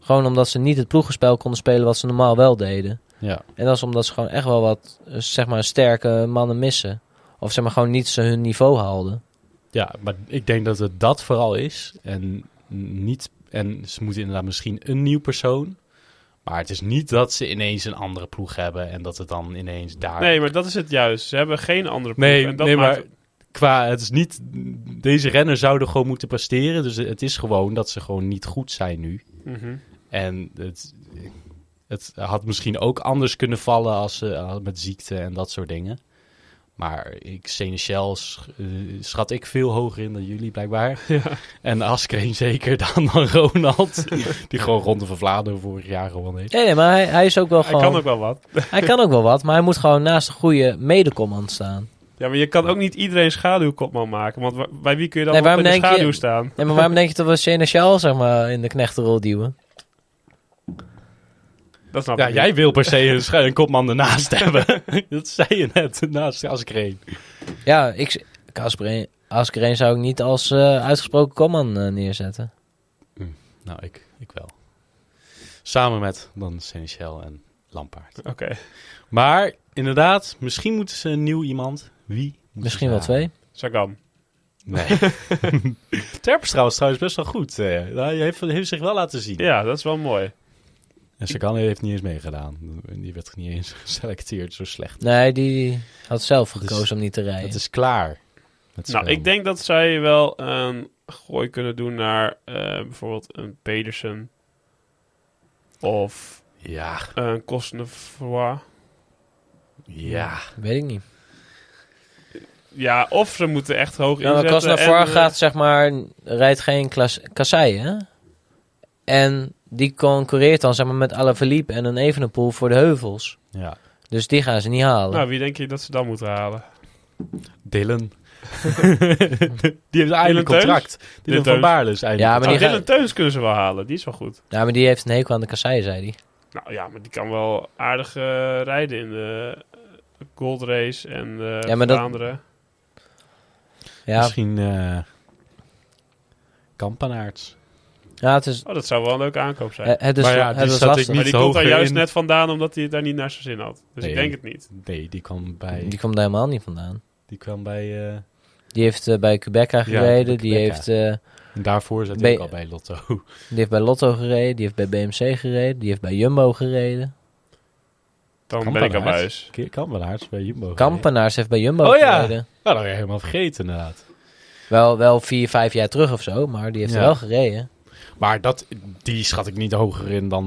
[SPEAKER 3] Gewoon omdat ze niet het ploegenspel konden spelen wat ze normaal wel deden.
[SPEAKER 2] Ja,
[SPEAKER 3] En dat is omdat ze gewoon echt wel wat, eh, zeg maar, sterke mannen missen. Of zeg maar gewoon niet ze hun niveau haalden.
[SPEAKER 2] ja, maar ik denk dat het dat vooral is. En niet. En ze moeten inderdaad misschien een nieuw persoon. Maar het is niet dat ze ineens een andere ploeg hebben en dat het dan ineens daar.
[SPEAKER 1] Nee, maar dat is het juist. Ze hebben geen andere ploeg.
[SPEAKER 2] nee,
[SPEAKER 1] en dat
[SPEAKER 2] nee,
[SPEAKER 1] maakt-
[SPEAKER 2] maar qua het is niet. Deze renners zouden gewoon moeten presteren. Dus het is gewoon dat ze gewoon niet goed zijn nu.
[SPEAKER 1] Mhm.
[SPEAKER 2] En het, het had misschien ook anders kunnen vallen als ze eh, met ziekte en dat soort dingen. Maar ik, Senechel sch- eh, schat ik veel hoger in dan jullie blijkbaar. En Askreen zeker dan, dan Ronald. die gewoon Ronde van Vlaanderen vorig jaar gewonnen heeft.
[SPEAKER 3] Nee, nee, maar hij, hij is ook wel
[SPEAKER 1] Hij
[SPEAKER 3] gewoon...
[SPEAKER 1] kan ook wel wat.
[SPEAKER 3] hij kan ook wel wat, maar hij moet gewoon naast een goede medecommand staan.
[SPEAKER 1] Ja, maar je kan ook niet iedereen schaduwkopman maken. Want wa- bij wie kun je dan
[SPEAKER 3] Nee,
[SPEAKER 1] nog in de
[SPEAKER 3] waarom denk je-
[SPEAKER 1] schaduw staan?
[SPEAKER 3] Nee, maar waarom denk je dat we Shane Shaw, zeg maar, in de knechtenrol duwen?
[SPEAKER 1] Dat snap
[SPEAKER 2] Ja,
[SPEAKER 1] ik
[SPEAKER 2] jij
[SPEAKER 1] niet.
[SPEAKER 2] wil per se een, schu- een kopman ernaast hebben. dat zei je net, naast Askreen.
[SPEAKER 3] Ja, ik... Kasper Askreen zou ik niet als eh, uitgesproken command eh, neerzetten.
[SPEAKER 2] Nou, ik, ik wel. Samen met dan Senechel en Lampaard.
[SPEAKER 1] Oké.
[SPEAKER 2] Maar inderdaad, misschien moeten ze een nieuw iemand. Wie? moeten
[SPEAKER 3] Misschien
[SPEAKER 2] ze
[SPEAKER 3] wel
[SPEAKER 2] halen?
[SPEAKER 3] twee.
[SPEAKER 1] Sagan.
[SPEAKER 2] Nee. Terpstra was trouwens best wel goed. eh. Nou, hij heeft, heeft zich wel laten zien.
[SPEAKER 1] Ja, dat is wel mooi.
[SPEAKER 2] En Sagan heeft niet eens meegedaan. Die werd niet eens geselecteerd, zo slecht.
[SPEAKER 3] Nee, die had zelf
[SPEAKER 2] Dat
[SPEAKER 3] gekozen
[SPEAKER 2] is-
[SPEAKER 3] om niet te rijden.
[SPEAKER 2] Het is klaar. met
[SPEAKER 1] Nou,
[SPEAKER 2] Sagan.
[SPEAKER 1] ik denk dat zij wel een gooi kunnen doen naar eh, bijvoorbeeld een Pedersen. Of
[SPEAKER 2] Ja,
[SPEAKER 1] een Cosnefroy.
[SPEAKER 2] ja.
[SPEAKER 3] Weet ik niet.
[SPEAKER 1] Ja, of ze moeten echt hoog
[SPEAKER 3] Nou, maar
[SPEAKER 1] inzetten.
[SPEAKER 3] Krasnodar
[SPEAKER 1] en, eh,
[SPEAKER 3] gaat, zeg maar, rijdt geen klas- kassei, hè? En die concurreert dan, zeg maar, met Alaphilippe en een Evenepoel voor de heuvels.
[SPEAKER 2] ja.
[SPEAKER 3] Dus die gaan ze niet halen.
[SPEAKER 1] Nou, wie denk je dat ze dan moeten halen?
[SPEAKER 2] Dylan. die heeft eindelijk
[SPEAKER 1] Teus?
[SPEAKER 2] contract. Dylan,
[SPEAKER 1] Dylan
[SPEAKER 2] van
[SPEAKER 1] Teus.
[SPEAKER 2] Baarle is eindelijk
[SPEAKER 3] Ja, maar
[SPEAKER 1] Nou,
[SPEAKER 3] die
[SPEAKER 1] Dylan
[SPEAKER 3] gaan-
[SPEAKER 1] Teuns kunnen ze wel halen. Die is wel goed.
[SPEAKER 3] Ja, maar die heeft een hekel aan de kassei, zei hij.
[SPEAKER 1] Nou ja, maar die kan wel aardig eh, rijden in de eh, Gold Race en de
[SPEAKER 3] Ja, maar dat-
[SPEAKER 1] Vlaanderen.
[SPEAKER 3] Ja,
[SPEAKER 2] Misschien eh Kampanaerts.
[SPEAKER 3] ja nou, het is...
[SPEAKER 1] Oh, dat zou wel een leuke aankoop zijn.
[SPEAKER 3] eh, Het is,
[SPEAKER 2] Maar ja, die
[SPEAKER 3] het is
[SPEAKER 2] zat ik
[SPEAKER 3] lastig.
[SPEAKER 1] maar
[SPEAKER 2] niet
[SPEAKER 1] die komt daar
[SPEAKER 2] hoger
[SPEAKER 1] juist
[SPEAKER 2] in.
[SPEAKER 1] net vandaan omdat hij het daar niet naar zijn zin had. Dus ik
[SPEAKER 2] Nee.
[SPEAKER 1] denk het niet.
[SPEAKER 2] Nee, die kwam bij...
[SPEAKER 3] Die
[SPEAKER 2] Die,
[SPEAKER 3] komt daar helemaal niet vandaan.
[SPEAKER 2] kwam bij... eh,
[SPEAKER 3] Die heeft eh, bij Quebecca gereden. die,
[SPEAKER 2] Quebeca.
[SPEAKER 3] heeft, eh,
[SPEAKER 2] en daarvoor zat
[SPEAKER 3] Bij-
[SPEAKER 2] hij ook al bij Lotto.
[SPEAKER 3] die heeft bij Lotto gereden. Die heeft bij BMC gereden. Die heeft bij Jumbo gereden.
[SPEAKER 1] Dan ben ik
[SPEAKER 2] Kampanaerts.
[SPEAKER 1] aan buis.
[SPEAKER 2] Kampanaerts bij Jumbo.
[SPEAKER 3] Kampenaars heeft bij Jumbo
[SPEAKER 2] Oh ja.
[SPEAKER 3] gereden.
[SPEAKER 2] Nou, dat heb ik helemaal vergeten inderdaad.
[SPEAKER 3] Wel, wel vier, vijf jaar terug of zo. Maar die heeft er
[SPEAKER 2] Ja.
[SPEAKER 3] wel gereden.
[SPEAKER 2] Maar dat, die schat ik niet hoger in dan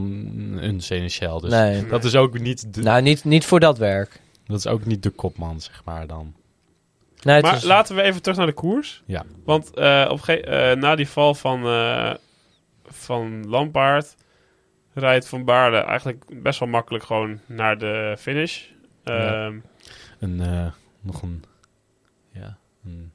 [SPEAKER 2] een Senechel. Dus
[SPEAKER 3] nee.
[SPEAKER 2] dat, is ook niet de,
[SPEAKER 3] Nou, niet, niet voor dat werk.
[SPEAKER 2] dat is ook niet de kopman, zeg maar dan.
[SPEAKER 3] Nee, het
[SPEAKER 1] Maar
[SPEAKER 3] is-
[SPEAKER 1] laten we even terug naar de koers.
[SPEAKER 2] Ja.
[SPEAKER 1] Want eh, op ge- eh, na die val van, eh, van Lampaard rijdt Van Baarle eigenlijk best wel makkelijk gewoon naar de finish.
[SPEAKER 2] Ja.
[SPEAKER 1] Ehm,
[SPEAKER 2] Een, eh, nog een, ja, een,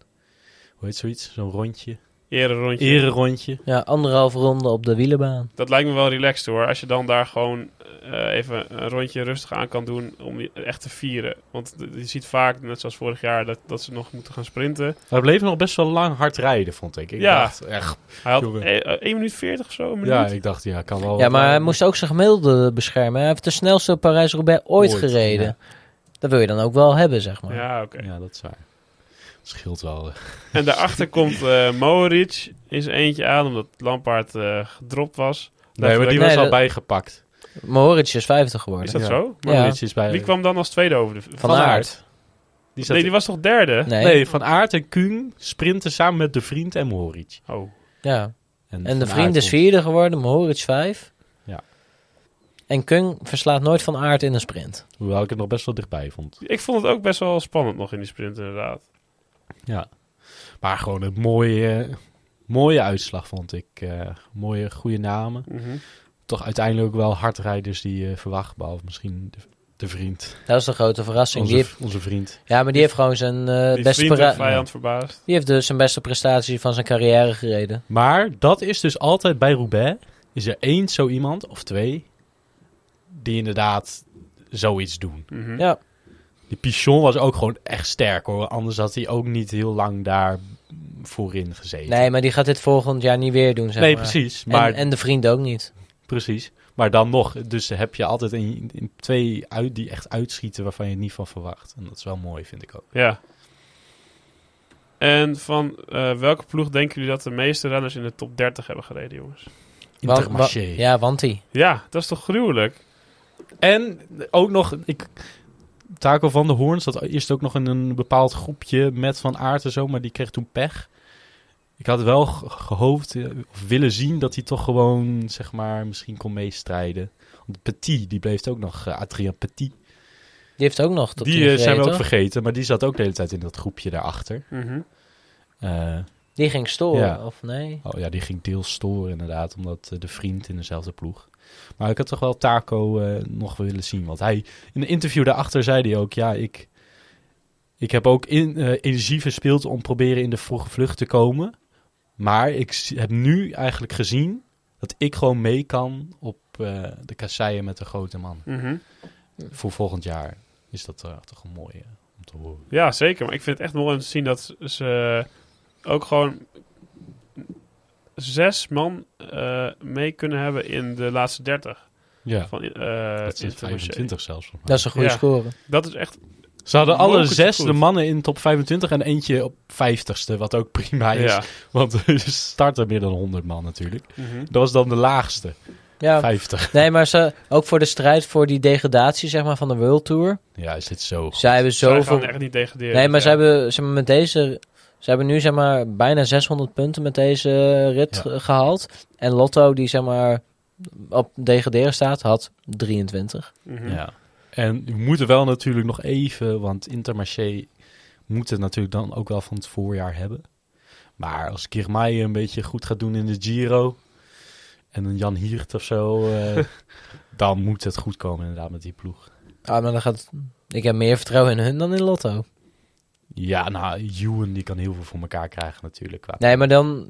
[SPEAKER 2] hoe heet zoiets? Zo'n rondje.
[SPEAKER 1] Ere rondje.
[SPEAKER 2] Ere rondje.
[SPEAKER 3] Ja, anderhalve ronde op de wielenbaan.
[SPEAKER 1] Dat lijkt me wel relaxed hoor. Als je dan daar gewoon eh, even een rondje rustig aan kan doen om je echt te vieren. Want d- je ziet vaak, net zoals vorig jaar, dat, dat ze nog moeten gaan sprinten.
[SPEAKER 2] Maar het bleef nog best wel lang hard rijden, vond ik. ik
[SPEAKER 1] Ja.
[SPEAKER 2] Dacht, echt,
[SPEAKER 1] Hij had
[SPEAKER 2] Jongen.
[SPEAKER 1] eh, eh, 1 minuut 40 of zo, een minuut.
[SPEAKER 2] ja, ik dacht, ja, kan wel.
[SPEAKER 3] Ja,
[SPEAKER 2] Oh, wat eh,
[SPEAKER 3] maar hij
[SPEAKER 2] langer.
[SPEAKER 3] moest ook zijn gemiddelde beschermen. Hij heeft de snelste Parijs-Roubaix ooit,
[SPEAKER 2] Ooit,
[SPEAKER 3] gereden.
[SPEAKER 2] ja.
[SPEAKER 3] Dat wil je dan ook wel hebben, zeg maar.
[SPEAKER 1] Ja, oké.
[SPEAKER 2] Ja, dat is waar. Het scheelt wel. eh.
[SPEAKER 1] En daarachter komt eh Mohoric in zijn eentje aan, omdat Lampaard eh gedropt was.
[SPEAKER 2] Nee, maar
[SPEAKER 1] we-
[SPEAKER 2] die
[SPEAKER 3] Nee,
[SPEAKER 2] was al
[SPEAKER 3] dat-
[SPEAKER 2] bijgepakt.
[SPEAKER 3] Mohoric is 50 geworden.
[SPEAKER 1] Is dat
[SPEAKER 2] Ja.
[SPEAKER 1] zo?
[SPEAKER 3] Ja.
[SPEAKER 2] Maurits is bij...
[SPEAKER 1] Wie kwam dan als tweede over de...
[SPEAKER 3] Van Aert.
[SPEAKER 2] Die zat-
[SPEAKER 1] Nee, die was toch derde?
[SPEAKER 3] Nee.
[SPEAKER 2] nee. Van Aert en Kuhn sprinten samen met de vriend en Mohoric.
[SPEAKER 1] Oh,
[SPEAKER 3] Ja. En de
[SPEAKER 2] Van
[SPEAKER 3] vriend
[SPEAKER 2] Aert
[SPEAKER 3] is
[SPEAKER 2] komt-
[SPEAKER 3] vierde geworden, Mohoric vijf.
[SPEAKER 2] Ja.
[SPEAKER 3] En Kung verslaat nooit van Aert in een sprint.
[SPEAKER 2] Hoewel ik het nog best wel dichtbij vond.
[SPEAKER 1] ik vond het ook best wel spannend nog in die sprint inderdaad.
[SPEAKER 2] Ja. Maar gewoon een mooie, mooie uitslag vond ik. Eh, mooie, goede namen.
[SPEAKER 1] Mhm.
[SPEAKER 3] Eh,
[SPEAKER 2] Toch uiteindelijk ook wel hardrijders die eh verwacht. Behalve misschien de, de vriend.
[SPEAKER 3] Dat is de grote verrassing. Die
[SPEAKER 2] Onze,
[SPEAKER 3] heeft-
[SPEAKER 2] onze vriend.
[SPEAKER 3] ja, maar die heeft gewoon zijn eh,
[SPEAKER 1] Die
[SPEAKER 3] beste
[SPEAKER 1] vriend en
[SPEAKER 3] pra-
[SPEAKER 1] vijand verbaasd.
[SPEAKER 3] Die heeft dus zijn beste prestatie van zijn carrière gereden.
[SPEAKER 2] Maar dat is dus altijd bij Roubaix. Is er één zo iemand of twee die inderdaad zoiets doen.
[SPEAKER 1] Mhm.
[SPEAKER 3] Ja.
[SPEAKER 2] Die Pichon was ook gewoon echt sterk hoor. Anders had hij ook niet heel lang daar voorin gezeten.
[SPEAKER 3] Nee, maar die gaat dit volgend jaar niet weer doen, zeg
[SPEAKER 2] Nee,
[SPEAKER 3] maar.
[SPEAKER 2] precies.
[SPEAKER 3] En-
[SPEAKER 2] Maar,
[SPEAKER 3] En, de vriend ook niet.
[SPEAKER 2] precies. maar dan nog. Dus heb je altijd een, een- twee uit die echt uitschieten waarvan je het niet van verwacht. En dat is wel mooi, vind ik ook.
[SPEAKER 1] Ja. En van eh, welke ploeg denken jullie dat de meeste renners in de top 30 hebben gereden, jongens?
[SPEAKER 3] Wa- wa-
[SPEAKER 2] Intermarché.
[SPEAKER 3] ja, want die.
[SPEAKER 1] Ja, dat is toch gruwelijk?
[SPEAKER 2] En ook nog, ik, Taco van der Hoorn zat eerst ook nog in een bepaald groepje met Van Aert en zo, maar die kreeg toen pech. Ik had wel ge- gehoopt, eh, of willen zien, dat hij toch gewoon, zeg maar, misschien kon meestrijden. Want Petit, die bleef ook nog, eh, Adrien Petit.
[SPEAKER 3] Die heeft ook nog tot
[SPEAKER 2] die
[SPEAKER 3] tien
[SPEAKER 2] eh,
[SPEAKER 3] gereden,
[SPEAKER 2] zijn we ook
[SPEAKER 3] toch?
[SPEAKER 2] vergeten, maar die zat ook de hele tijd in dat groepje daarachter.
[SPEAKER 1] Mhm.
[SPEAKER 2] Eh,
[SPEAKER 3] Die ging storen,
[SPEAKER 2] Ja.
[SPEAKER 3] of nee?
[SPEAKER 2] oh ja, die ging deels storen inderdaad, omdat eh, de vriend in dezelfde ploeg. Maar ik had toch wel Taco eh, nog willen zien. Want hij, in een interview daarachter zei hij ook, ja, ik, ik heb ook in, eh, energie verspeeld om proberen in de vroege vlucht te komen. Maar ik z- heb nu eigenlijk gezien dat ik gewoon mee kan op eh, de kasseien met de grote man.
[SPEAKER 1] Mhm.
[SPEAKER 2] Voor volgend jaar is dat eh, toch een mooie om te horen.
[SPEAKER 1] Ja, zeker. Maar ik vind het echt mooi om te zien dat ze ook gewoon zes man eh, mee kunnen hebben in de laatste 30.
[SPEAKER 2] Ja,
[SPEAKER 1] Van, eh,
[SPEAKER 2] dat is
[SPEAKER 1] Intermarché.
[SPEAKER 2] 25 zelfs. volgens mij.
[SPEAKER 3] Dat is een goede
[SPEAKER 1] Ja.
[SPEAKER 3] score.
[SPEAKER 1] Dat is echt
[SPEAKER 2] Ze hadden alle
[SPEAKER 1] Mogelijk is
[SPEAKER 2] zes
[SPEAKER 1] goed.
[SPEAKER 2] de mannen in top 25 en eentje op 50ste, wat ook prima is.
[SPEAKER 1] ja. Dus-
[SPEAKER 2] Want er starten meer dan 100 man natuurlijk.
[SPEAKER 1] Mhm.
[SPEAKER 2] Dat was dan de laagste,
[SPEAKER 3] Ja,
[SPEAKER 2] 50.
[SPEAKER 3] nee, maar ze, ook voor de strijd voor die degradatie zeg maar, van de World Tour.
[SPEAKER 2] Ja, is dit zo.
[SPEAKER 3] Zij hebben
[SPEAKER 1] Zij
[SPEAKER 3] zoveel...
[SPEAKER 1] gaan echt niet degraderen.
[SPEAKER 3] Nee, maar ze
[SPEAKER 1] Ja.
[SPEAKER 3] hebben, zeg maar, met deze... Ze hebben nu zeg maar, bijna 600 punten met deze rit
[SPEAKER 2] Ja.
[SPEAKER 3] ge- gehaald. En Lotto, die zeg maar, op degraderen staat, had 23.
[SPEAKER 1] Mhm.
[SPEAKER 2] Ja. En we moeten wel natuurlijk nog even, want Intermarché moet het natuurlijk dan ook wel van het voorjaar hebben. Maar als Kirmaai een beetje goed gaat doen in de Giro en een Jan Hiert of zo, eh, dan moet het goed komen inderdaad met die ploeg.
[SPEAKER 3] Ah, maar dan gaat... Ik heb meer vertrouwen in hun dan in Lotto.
[SPEAKER 2] Ja, nou, Ewan die kan heel veel voor elkaar krijgen natuurlijk. Qua
[SPEAKER 3] Nee, maar dan...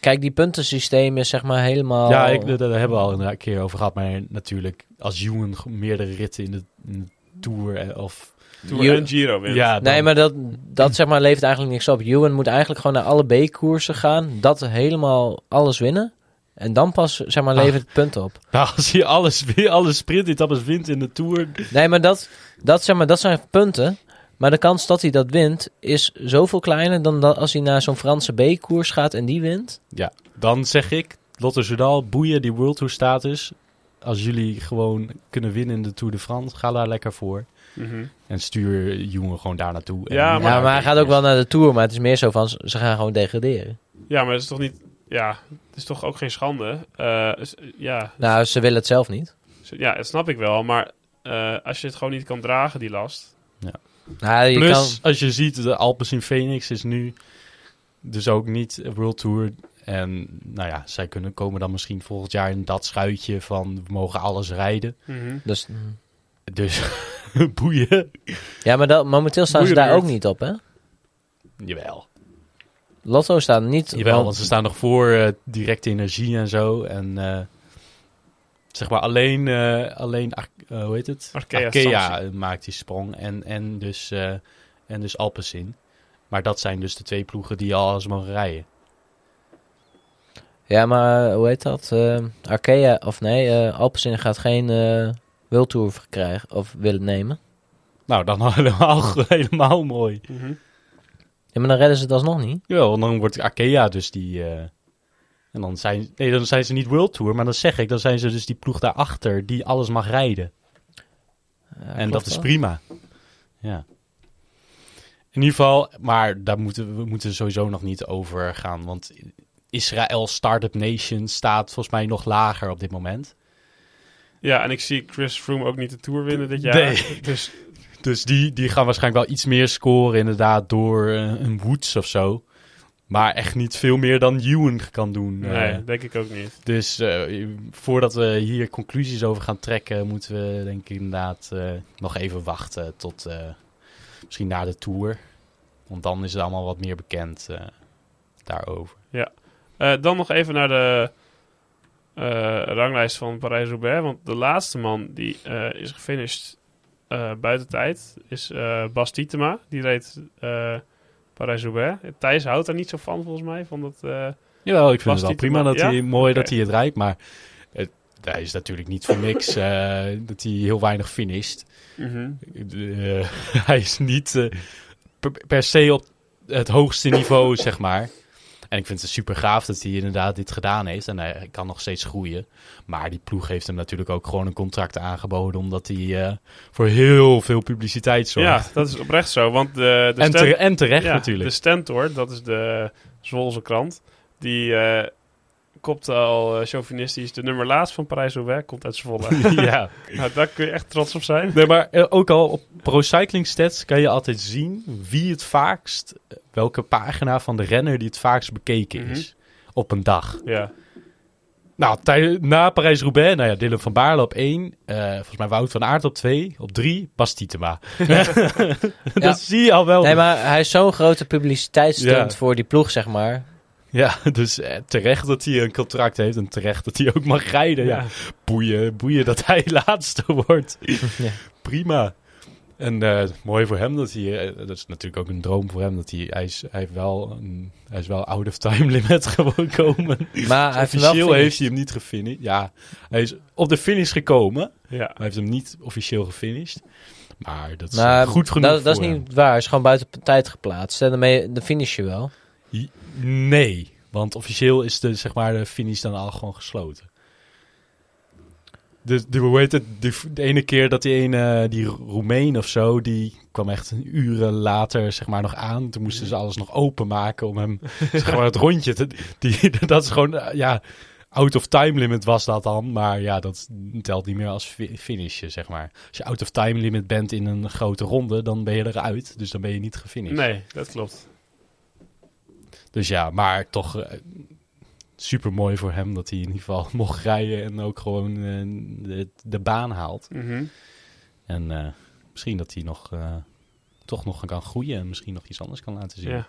[SPEAKER 3] Kijk, die puntensysteem is zeg maar helemaal...
[SPEAKER 2] Ja, ik, daar daar hebben we al een keer over gehad. Maar natuurlijk, als Jongen meerdere ritten in de, in de Tour eh, of...
[SPEAKER 1] Tour
[SPEAKER 3] Je-
[SPEAKER 1] en Giro wint.
[SPEAKER 2] Ja,
[SPEAKER 3] Nee,
[SPEAKER 2] dan-
[SPEAKER 3] maar dat, dat zeg maar, levert eigenlijk niks op. Ewan moet eigenlijk gewoon naar alle B-koersen gaan. Dat helemaal alles winnen. En dan pas zeg maar,
[SPEAKER 2] Ah.
[SPEAKER 3] levert het punten op.
[SPEAKER 2] Nou, als je alles, win- alle sprintetappes wint in de Tour...
[SPEAKER 3] Nee, maar dat, dat, zeg maar dat zijn punten. Maar de kans dat hij dat wint is zoveel kleiner dan dat als hij naar zo'n Franse B-koers gaat en die wint.
[SPEAKER 2] Ja, dan zeg ik, Lotte Soudal, boeien die World Tour status. Als jullie gewoon kunnen winnen in de Tour de France, ga daar lekker voor.
[SPEAKER 1] Mhm.
[SPEAKER 2] En stuur Jongen gewoon daar naartoe. En-
[SPEAKER 1] Ja,
[SPEAKER 3] Ja, maar, hij gaat ook wel naar de Tour, maar het is meer zo van, ze ze gaan gewoon degraderen.
[SPEAKER 1] Ja, maar het is toch niet... Ja, het is toch ook geen schande? Eh, is- ja,
[SPEAKER 3] Nou, ze willen het zelf niet.
[SPEAKER 1] Zo- Ja, dat snap ik wel. Maar eh, als je het gewoon niet kan dragen, die last.
[SPEAKER 3] Nou, je
[SPEAKER 2] Plus, als je ziet, de Alpecin Phoenix is nu dus ook niet World Tour. En nou ja, zij kunnen, komen dan misschien volgend jaar in dat schuitje van we mogen alles rijden.
[SPEAKER 1] Mhm.
[SPEAKER 3] kan, dus, mm.
[SPEAKER 2] Dus boeien.
[SPEAKER 3] ja, maar dat, momenteel staan ze
[SPEAKER 1] Boeien
[SPEAKER 3] daar ook
[SPEAKER 1] het.
[SPEAKER 3] niet op, hè?
[SPEAKER 2] Jawel.
[SPEAKER 3] Lotto staat niet
[SPEAKER 2] Jawel,
[SPEAKER 3] want-
[SPEAKER 2] want ze staan nog voor eh, directe energie en zo. En eh, zeg maar alleen, eh, alleen Ar- eh, hoe heet het?
[SPEAKER 1] Arkea
[SPEAKER 2] maakt die sprong. En, en dus, eh en dus Alpecin. Maar dat zijn dus de twee ploegen die al alles mogen rijden.
[SPEAKER 3] Ja, maar eh, hoe heet dat? Eh, Arkea, of nee, eh Alpecin gaat geen eh World Tour krijgen of willen nemen.
[SPEAKER 2] Nou, dan helemaal, helemaal mooi.
[SPEAKER 1] Mhm.
[SPEAKER 3] Ja, maar dan redden ze het alsnog niet.
[SPEAKER 2] Ja, want dan wordt Arkea dus die, eh, En dan zijn, nee, dan zijn ze niet World Tour, maar dan zeg ik, dan zijn ze dus die ploeg daarachter die alles mag rijden. en dat is prima. Ja. In ieder geval, maar daar moeten we- we moeten sowieso nog niet over gaan. Want Israël Startup Nation staat volgens mij nog lager op dit moment.
[SPEAKER 1] Ja, en ik zie Chris Froome ook niet de Tour winnen dit jaar.
[SPEAKER 2] Nee.
[SPEAKER 1] Dus
[SPEAKER 2] Dus die, die gaan waarschijnlijk wel iets meer scoren, inderdaad, door eh, een Woods of zo. Maar echt niet veel meer dan Ewan kan doen. eh.
[SPEAKER 1] nee, denk ik ook niet.
[SPEAKER 2] Dus eh, voordat we hier conclusies over gaan trekken, moeten we denk ik inderdaad eh, nog even wachten tot eh, misschien na de tour. Want dan is het allemaal wat meer bekend eh, daarover.
[SPEAKER 1] Eh, dan nog even naar de eh, ranglijst van Parijs-Roubaix. Want de laatste man die eh, is gefinished eh, buiten tijd is eh Bas Tietema. Die reed eh, Parijs-Roubaix. Thijs houdt daar niet zo van volgens mij. Van dat, eh,
[SPEAKER 2] Jawel, ik vind
[SPEAKER 1] Was
[SPEAKER 2] het wel
[SPEAKER 1] die te
[SPEAKER 2] prima
[SPEAKER 1] ma-
[SPEAKER 2] dat
[SPEAKER 1] ja?
[SPEAKER 2] hij mooi dat
[SPEAKER 1] Oké.
[SPEAKER 2] hij het rijdt, maar het, hij is natuurlijk niet voor niks eh, dat hij heel weinig finisht. Eh, hij is niet eh, per, per se op het hoogste niveau, zeg maar. En ik vind het super gaaf dat hij inderdaad dit gedaan heeft. En hij kan nog steeds groeien. Maar die ploeg heeft hem natuurlijk ook gewoon een contract aangeboden. Omdat hij eh, voor heel veel publiciteit
[SPEAKER 1] ja,
[SPEAKER 2] zorgt.
[SPEAKER 1] dat is oprecht zo. Want de, de
[SPEAKER 2] en,
[SPEAKER 1] stand-
[SPEAKER 2] tere- en terecht
[SPEAKER 1] ja,
[SPEAKER 2] natuurlijk.
[SPEAKER 1] De Stentor, dat is de Zwolse krant, die eh, kopte al eh, chauvinistisch de nummer laatst van Parijs-Roubaix. Komt uit Zwolle.
[SPEAKER 2] ja.
[SPEAKER 1] nou, daar kun je echt trots op zijn.
[SPEAKER 2] Nee, maar eh, ook al op Pro Cycling Stats kan je altijd zien wie het vaakst, eh, welke pagina van de renner die het vaakst bekeken
[SPEAKER 1] Mhm.
[SPEAKER 2] is op een dag.
[SPEAKER 1] Ja.
[SPEAKER 2] Nou, tij- na Parijs-Roubaix, nou ja, Dylan van Baarle op 1. volgens mij Wout van Aert op 2. Op 3, Bas Tietema. dat
[SPEAKER 3] Ja.
[SPEAKER 2] zie je al wel.
[SPEAKER 3] Nee, maar hij is zo'n grote publiciteitsstunt
[SPEAKER 2] Oh. Ja.
[SPEAKER 3] voor die ploeg, zeg maar.
[SPEAKER 2] Ja, dus eh, terecht dat hij een contract heeft en terecht dat hij ook mag rijden. Ja. Boeien, boeien dat hij laatste wordt.
[SPEAKER 3] Ja.
[SPEAKER 2] Prima. En eh, mooi voor hem dat hij, eh, dat is natuurlijk ook een droom voor hem, dat hij, hij, is, hij, heeft, wel een, hij is wel out of time limit gekomen.
[SPEAKER 3] Maar hij heeft hem wel
[SPEAKER 2] officieel
[SPEAKER 3] gefinished.
[SPEAKER 2] heeft hij hem niet gefinished. Ja, hij is op de finish gekomen.
[SPEAKER 1] Ja.
[SPEAKER 2] Maar hij heeft hem niet officieel gefinished. Maar dat is
[SPEAKER 3] Maar
[SPEAKER 2] eh, goed genoeg
[SPEAKER 3] dat, dat
[SPEAKER 2] voor
[SPEAKER 3] is
[SPEAKER 2] hem.
[SPEAKER 3] niet waar. Hij is gewoon buiten p- tijd geplaatst. En daarmee de finish je wel.
[SPEAKER 2] I- Nee, want officieel is de, zeg maar, de finish dan al gewoon gesloten. De, de, hoe heet het? De, v- de ene keer dat die ene, die Roemeen of zo, die kwam echt een uren later zeg maar nog aan. Toen moesten ze alles nog openmaken om hem, zeg maar, het rondje te... Die, dat is gewoon, eh, ja, out of time limit was dat dan. Maar ja, dat telt niet meer als fi- finishje, zeg maar. Als je out of time limit bent in een grote ronde, dan ben je eruit. Dus dan ben je niet gefinished.
[SPEAKER 1] Nee, dat klopt.
[SPEAKER 2] Dus ja, maar toch super mooi voor hem dat hij in ieder geval mocht rijden en ook gewoon eh, de, de baan haalt. En eh, misschien dat hij nog, eh, toch nog kan groeien en misschien nog iets anders kan laten zien.
[SPEAKER 1] ja.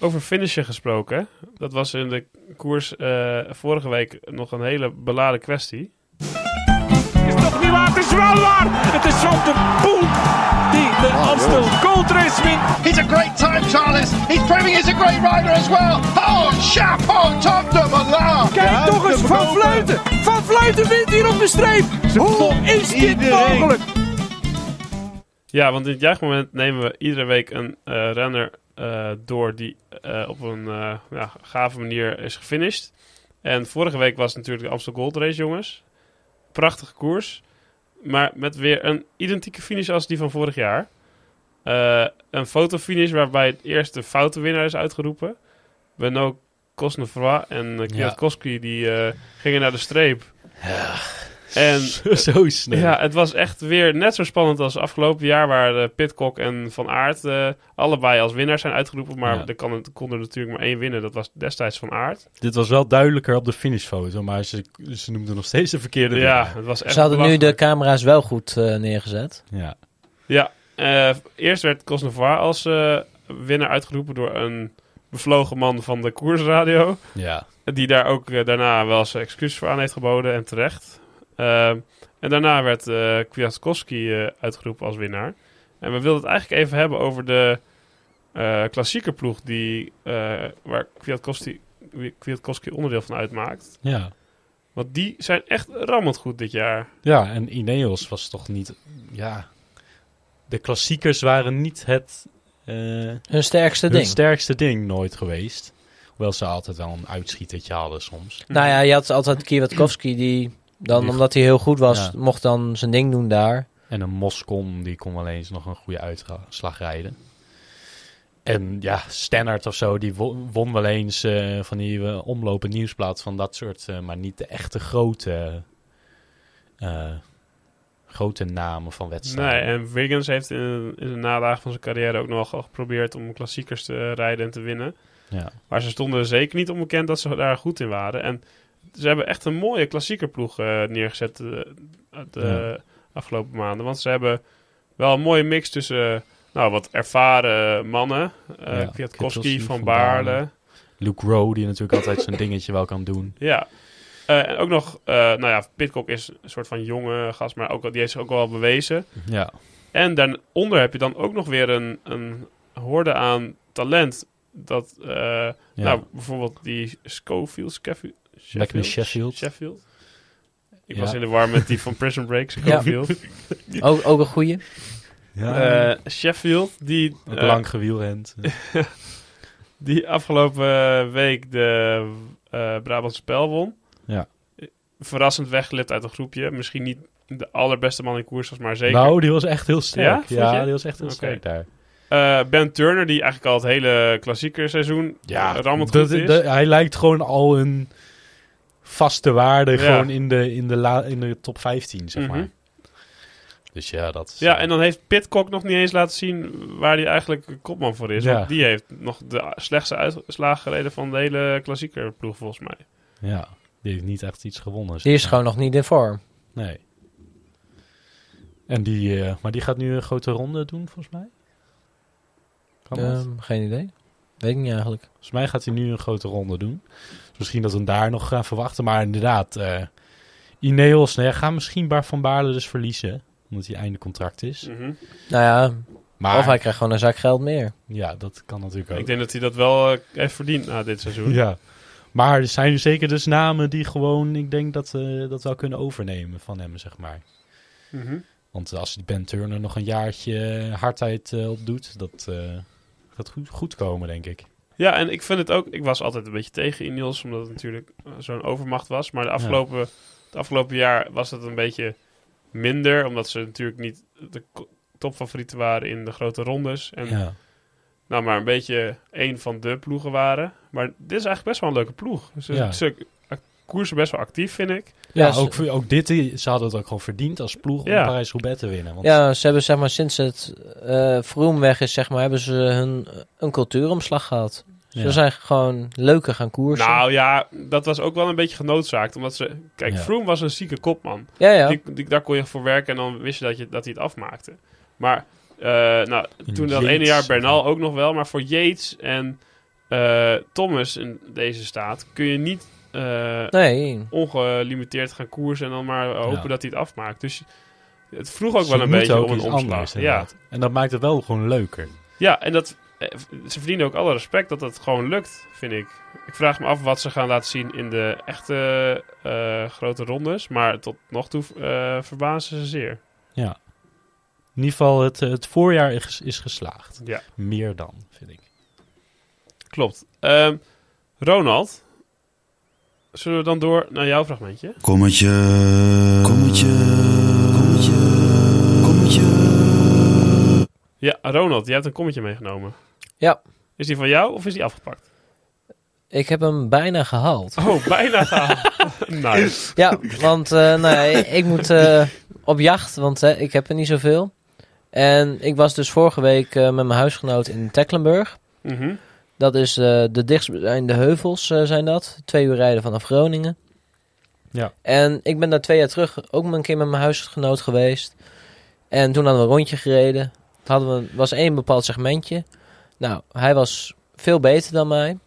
[SPEAKER 1] Over finishen gesproken. Dat was in de koers eh, vorige week nog een hele beladen kwestie.
[SPEAKER 5] is toch niet waar? Het is wel waar! Het is Van de Poel die de Amstel Gold Race wint.
[SPEAKER 6] He's a great time, Charles. He's proving he's a great rider as well. Oh, chapeau, top de Malar.
[SPEAKER 5] Kijk toch eens, Van Vleuten! Van Vleuten wint hier op de streep! Hoe is dit mogelijk?
[SPEAKER 1] Ja, want in het juichmoment nemen we iedere week een eh, renner eh, door die eh, op een eh, ja, gave manier is gefinished. En vorige week was natuurlijk de Amstel Gold Race, jongens. Prachtige koers. Maar met weer een identieke finish als die van vorig jaar. Eh, een fotofinish waarbij het eerst de foute winnaar is uitgeroepen. Benoît Cosnefroy en eh, Kwiatkowski die eh, gingen naar de streep. En
[SPEAKER 2] Zo snel.
[SPEAKER 1] ja, het was echt weer net zo spannend als afgelopen jaar, waar eh, Pitcock en Van Aert eh, allebei als winnaar zijn uitgeroepen. Maar
[SPEAKER 2] Ja.
[SPEAKER 1] er, kan, er kon er natuurlijk maar één winnen. Dat was destijds Van Aert.
[SPEAKER 2] Dit was wel duidelijker op de finishfoto, maar ze, ze noemden nog steeds de verkeerde
[SPEAKER 1] Ja,
[SPEAKER 2] winnaar.
[SPEAKER 1] het was echt.
[SPEAKER 3] Ze hadden nu de
[SPEAKER 1] belachelijk.
[SPEAKER 3] camera's wel goed eh, neergezet.
[SPEAKER 2] Ja.
[SPEAKER 1] Ja, eh, eerst werd Cosnevar als eh, winnaar uitgeroepen door een bevlogen man van de koersradio.
[SPEAKER 2] Ja.
[SPEAKER 1] Die daar ook eh, daarna wel zijn excuses voor aan heeft geboden en terecht. Ehm, en daarna werd eh Kwiatkowski eh, uitgeroepen als winnaar. En we wilden het eigenlijk even hebben over de eh klassieke ploeg die, eh, waar Kwiatkowski, Kwiatkowski onderdeel van uitmaakt.
[SPEAKER 2] ja.
[SPEAKER 1] Want die zijn echt rammend goed dit jaar.
[SPEAKER 2] Ja, en Ineos was toch niet... Ja. De klassiekers waren niet het... eh,
[SPEAKER 3] Hun sterkste
[SPEAKER 2] het
[SPEAKER 3] ding.
[SPEAKER 2] sterkste ding nooit geweest. Hoewel ze altijd wel een uitschietertje hadden soms.
[SPEAKER 3] Nou ja, je had altijd Kiewatkowski die dan,
[SPEAKER 2] Die-
[SPEAKER 3] omdat hij heel goed was,
[SPEAKER 2] Ja.
[SPEAKER 3] mocht dan zijn ding doen daar.
[SPEAKER 2] En een Moscon, die kon wel eens nog een goede uitslag rijden. En ja, Stannard of zo, die wo- won wel eens eh, van die eh, omlopen nieuwsblad van dat soort. eh, maar niet de echte grote, eh, grote namen van wedstrijden.
[SPEAKER 1] Nee, en Wiggins heeft in, in de nadagen van zijn carrière ook nogal geprobeerd om klassiekers te eh, rijden en te winnen.
[SPEAKER 2] Ja.
[SPEAKER 1] Maar ze stonden er zeker niet onbekend dat ze daar goed in waren. En ze hebben echt een mooie klassiekerploeg eh, neergezet eh, de afgelopen maanden. Want ze hebben wel een mooie mix tussen eh, nou, wat ervaren mannen. eh
[SPEAKER 2] Ja,
[SPEAKER 1] Kwiatkowski,
[SPEAKER 2] Kwiatkowski,
[SPEAKER 1] Van
[SPEAKER 2] Van Baarle.
[SPEAKER 1] Baarle.
[SPEAKER 2] Luke Rowe, die natuurlijk altijd zijn dingetje wel kan doen.
[SPEAKER 1] Ja. Eh, en ook nog, eh, nou ja, Pitcock is een soort van jonge gast, maar ook, al- die heeft zich ook wel bewezen.
[SPEAKER 2] Ja,
[SPEAKER 1] En daaronder heb je dan ook nog weer een, een horde aan talent. Dat, eh,
[SPEAKER 2] ja.
[SPEAKER 1] nou, bijvoorbeeld die Schofield, Scafi-
[SPEAKER 2] Sheffield. Sheffield.
[SPEAKER 1] Sheffield. Ik
[SPEAKER 2] Ja.
[SPEAKER 1] was in de war met die van Prison Break, Schofield.
[SPEAKER 3] Ook, ook een goede.
[SPEAKER 2] Ja.
[SPEAKER 1] Eh, Sheffield, die,
[SPEAKER 2] ook
[SPEAKER 1] eh,
[SPEAKER 2] lang gewielrend.
[SPEAKER 1] die afgelopen week de eh Brabantse Spel won.
[SPEAKER 2] Ja.
[SPEAKER 1] Verrassend wegglipt uit een groepje. Misschien niet de allerbeste man in koers was, maar zeker.
[SPEAKER 2] nou, die was echt heel
[SPEAKER 1] Ja,
[SPEAKER 2] sterk.
[SPEAKER 1] vond je?
[SPEAKER 2] Ja, die was echt heel
[SPEAKER 1] Oké.
[SPEAKER 2] sterk daar.
[SPEAKER 1] Eh, ben Turner, die eigenlijk al het hele klassieker seizoen ja, rammelt
[SPEAKER 2] dat-
[SPEAKER 1] goed is.
[SPEAKER 2] dat- hij lijkt gewoon al een vaste waarde
[SPEAKER 1] Ja.
[SPEAKER 2] gewoon in de, in, de la, in de top 15, zeg
[SPEAKER 1] Mhm.
[SPEAKER 2] maar. Dus ja, dat is...
[SPEAKER 1] ja, en dan heeft Pitcock nog niet eens laten zien waar hij eigenlijk kopman voor is.
[SPEAKER 2] Ja.
[SPEAKER 1] Want die heeft nog de slechtste uitslag gereden van de hele klassiekerploeg, volgens mij.
[SPEAKER 2] ja, die heeft niet echt iets gewonnen. zeg
[SPEAKER 3] Die is
[SPEAKER 2] maar.
[SPEAKER 3] gewoon nog niet in vorm.
[SPEAKER 2] Nee. En die, eh, maar die gaat nu een grote ronde doen, volgens mij? Kan dat?
[SPEAKER 3] Ehm, geen idee. Weet ik niet eigenlijk.
[SPEAKER 2] Volgens mij gaat hij nu een grote ronde doen. Dus misschien dat we hem daar nog gaan verwachten. Maar inderdaad, eh Ineos nou ja, gaat misschien Bar van Baarle dus verliezen. Omdat hij einde contract is.
[SPEAKER 1] Mhm.
[SPEAKER 3] Nou ja,
[SPEAKER 2] Maar
[SPEAKER 3] of hij krijgt gewoon een zak geld meer.
[SPEAKER 2] ja, dat kan natuurlijk ook.
[SPEAKER 1] Ik denk dat hij dat wel eh, heeft verdiend na dit seizoen.
[SPEAKER 2] Ja. Maar er zijn zeker dus namen die gewoon, ik denk dat eh dat wel kunnen overnemen van hem, zeg maar.
[SPEAKER 1] Mhm.
[SPEAKER 2] Want als die Ben Turner nog een jaartje hardheid eh, op doet, dat eh, gaat goed, goed komen, denk ik.
[SPEAKER 1] Ja, en ik vind het ook... Ik was altijd een beetje tegen Ineos, omdat het natuurlijk eh, zo'n overmacht was. Maar de afgelopen, het afgelopen jaar was het een beetje minder. Omdat ze natuurlijk niet de ko- topfavorieten waren in de grote rondes. En
[SPEAKER 2] Ja.
[SPEAKER 1] nou maar een beetje één van de ploegen waren. Maar dit is eigenlijk best wel een leuke ploeg. Ze,
[SPEAKER 2] Ja.
[SPEAKER 1] ze koersen best wel actief, vind ik.
[SPEAKER 2] Ja,
[SPEAKER 3] ze-
[SPEAKER 2] ook, ook dit, eh, ze hadden het ook gewoon verdiend als ploeg om
[SPEAKER 1] Ja.
[SPEAKER 2] Parijs-Roubaix te winnen. Want
[SPEAKER 3] ja, ze hebben zeg maar sinds het eh Vroom weg is, zeg maar, hebben ze hun, een cultuuromslag gehad.
[SPEAKER 2] ja.
[SPEAKER 3] Ze zijn gewoon leuker gaan koersen.
[SPEAKER 1] Nou ja, dat was ook wel een beetje genoodzaakt. Omdat ze... Kijk,
[SPEAKER 2] Ja.
[SPEAKER 1] Froome was een zieke kopman.
[SPEAKER 3] ja, ja.
[SPEAKER 1] Die, die- daar kon je voor werken en dan wist je dat, je, dat hij het afmaakte. Maar eh, nou,
[SPEAKER 2] En
[SPEAKER 1] toen dat
[SPEAKER 2] Yates.
[SPEAKER 1] ene jaar Bernal ook nog wel. Maar voor Yates en eh, Thomas in deze staat kun je niet eh,
[SPEAKER 3] nee.
[SPEAKER 1] ongelimiteerd gaan koersen en dan maar eh, hopen
[SPEAKER 2] Ja.
[SPEAKER 1] dat hij het afmaakt. Dus het vroeg ook
[SPEAKER 2] Ze
[SPEAKER 1] wel een
[SPEAKER 2] moeten
[SPEAKER 1] beetje
[SPEAKER 2] ook
[SPEAKER 1] om een
[SPEAKER 2] iets
[SPEAKER 1] omslag.
[SPEAKER 2] anders,
[SPEAKER 1] ja.
[SPEAKER 2] inderdaad. En dat maakt het wel gewoon leuker.
[SPEAKER 1] ja, en dat, eh, ze verdienen ook alle respect dat dat gewoon lukt, vind ik. Ik vraag me af wat ze gaan laten zien in de echte eh, grote rondes. Maar tot nog toe eh, verbazen ze zeer.
[SPEAKER 2] Ja. In ieder geval, het, eh, het voorjaar is, is geslaagd.
[SPEAKER 1] Ja.
[SPEAKER 2] Meer dan, vind ik.
[SPEAKER 1] Klopt. Ehm, Ronald, zullen we dan door naar jouw fragmentje?
[SPEAKER 4] Kommetje. Kommetje. Kommetje. Kommetje.
[SPEAKER 1] Ja, Ronald, jij hebt een kommetje meegenomen.
[SPEAKER 3] Ja.
[SPEAKER 1] Is die van jou of is die afgepakt?
[SPEAKER 3] Ik heb hem bijna gehaald.
[SPEAKER 1] Oh, bijna gehaald. nice.
[SPEAKER 3] Ja, want eh, nou ja, ik moet eh, op jacht, want eh, ik heb er niet zoveel. En ik was dus vorige week eh, met mijn huisgenoot in Tecklenburg.
[SPEAKER 1] Mhm.
[SPEAKER 3] Dat is eh, de dichtstbijzijnde heuvels eh, zijn dat. Twee uur rijden vanaf Groningen.
[SPEAKER 2] Ja.
[SPEAKER 3] En ik ben daar twee jaar terug ook een keer met mijn huisgenoot geweest. En toen hadden we een rondje gereden. Het Hadden we, was één bepaald segmentje. Nou, hij was veel beter dan mij.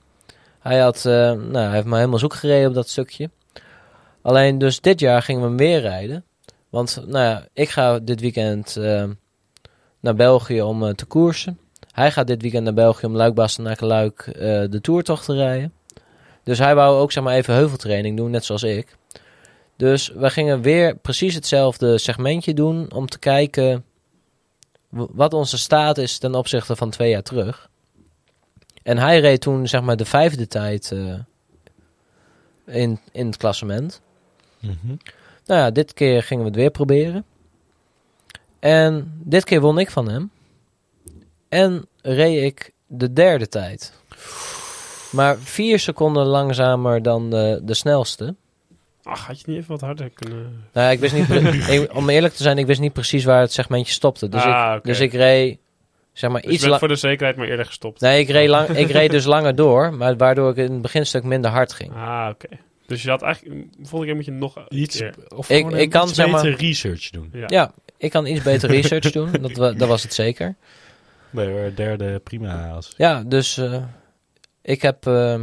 [SPEAKER 3] Hij, had, eh, nou, hij heeft me helemaal zoek gereden op dat stukje. Alleen dus dit jaar gingen we hem weer rijden. Want nou ja, ik ga dit weekend eh, naar België om eh, te koersen. Hij gaat dit weekend naar België om Luik-Bastenaken Luik eh, de toertocht te rijden. Dus hij wou ook zeg maar even heuveltraining doen, net zoals ik. Dus we gingen weer precies hetzelfde segmentje doen om te kijken w- wat onze staat is ten opzichte van twee jaar terug. En hij reed toen zeg maar de vijfde tijd eh, in, in het klassement.
[SPEAKER 2] Mhm.
[SPEAKER 3] Nou ja, dit keer gingen we het weer proberen. En dit keer won ik van hem. En reed ik de derde tijd. Maar vier seconden langzamer dan de, de snelste.
[SPEAKER 1] Ach, had je niet even wat harder kunnen...
[SPEAKER 3] Nou, ja, ik wist niet pre- ik- om eerlijk te zijn, ik wist niet precies waar het segmentje stopte. Dus,
[SPEAKER 1] Ah,
[SPEAKER 3] ik,
[SPEAKER 1] oké.
[SPEAKER 3] dus ik reed, zeg maar,
[SPEAKER 1] Dus je bent
[SPEAKER 3] iets langer.
[SPEAKER 1] voor de zekerheid maar eerder gestopt.
[SPEAKER 3] Nee, ik reed, lang, ik reed dus langer door, maar waardoor ik in het beginstuk minder hard ging.
[SPEAKER 1] Ah, oké. Dus je had eigenlijk... Volgende keer moet je nog een
[SPEAKER 2] Iets,
[SPEAKER 1] keer.
[SPEAKER 2] of
[SPEAKER 3] Ik-
[SPEAKER 2] gewoon een
[SPEAKER 3] ik kan,
[SPEAKER 2] iets
[SPEAKER 3] zeg maar-
[SPEAKER 2] beter research doen.
[SPEAKER 1] Ja.
[SPEAKER 3] Ja, ik kan iets beter research doen, dat, wa- dat was het zeker.
[SPEAKER 2] Nee hoor, derde prima. Als...
[SPEAKER 3] Ja, dus eh, ik heb. eh,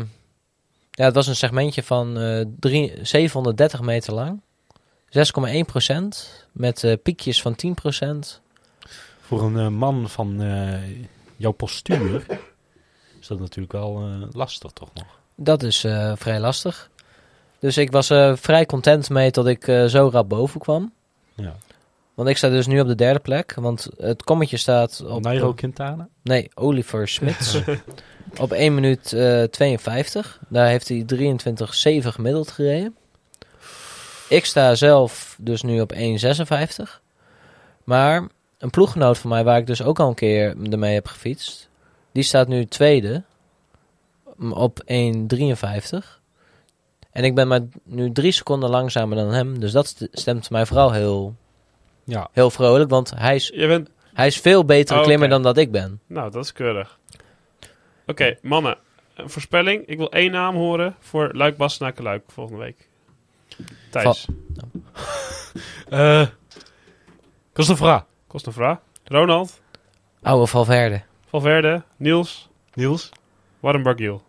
[SPEAKER 3] ja, het was een segmentje van eh, drie, 730 meter lang. 6,1% met eh, piekjes van 10%.
[SPEAKER 2] Voor een eh, man van eh, jouw postuur is dat natuurlijk wel eh, lastig toch nog.
[SPEAKER 3] Dat is eh, vrij lastig. Dus ik was eh, vrij content mee dat ik eh, zo rap boven kwam.
[SPEAKER 2] Ja.
[SPEAKER 3] Want ik sta dus nu op de derde plek. Want het kommetje staat op...
[SPEAKER 2] Nairo Quintana?
[SPEAKER 3] Nee, Oliver Smits. op 1 minuut eh, 52. Daar heeft hij 23,7 gemiddeld gereden. Ik sta zelf dus nu op 1,56. Maar een ploeggenoot van mij, waar ik dus ook al een keer ermee heb gefietst, die staat nu tweede m, op 1,53. En ik ben maar nu drie seconden langzamer dan hem. Dus dat st- stemt mij vooral heel,
[SPEAKER 2] Ja.
[SPEAKER 3] heel vrolijk. Want hij is,
[SPEAKER 1] Je bent...
[SPEAKER 3] hij is veel betere
[SPEAKER 1] Oh, oké.
[SPEAKER 3] klimmer dan dat ik ben.
[SPEAKER 1] Nou, dat is keurig. Oké, mannen. Een voorspelling. Ik wil één naam horen voor Luik Bastenaken Luik volgende week. Thijs.
[SPEAKER 2] Eh Christopher.
[SPEAKER 1] Kostnevra. Ronald.
[SPEAKER 3] Oude Valverde.
[SPEAKER 1] Valverde. Niels.
[SPEAKER 2] Niels?
[SPEAKER 1] Warren Bargiel.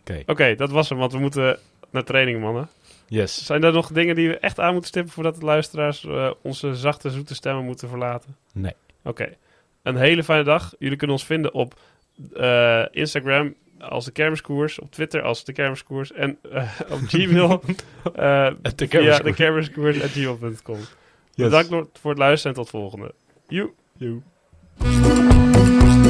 [SPEAKER 2] Oké.
[SPEAKER 1] Oké, dat was hem, want we moeten naar training, mannen.
[SPEAKER 2] Yes.
[SPEAKER 1] Zijn er nog dingen die we echt aan moeten stippen voordat de luisteraars eh, onze zachte, zoete stemmen moeten verlaten?
[SPEAKER 2] Nee.
[SPEAKER 1] Oké. Een hele fijne dag. Jullie kunnen ons vinden op eh, Instagram als de Kermiskoers, op Twitter als de Kermiskoers en eh, op Gmail eh
[SPEAKER 2] De
[SPEAKER 1] via de kermiskoers at gmail.com. Bedankt voor het luisteren en tot volgende. Joe.
[SPEAKER 2] Joe.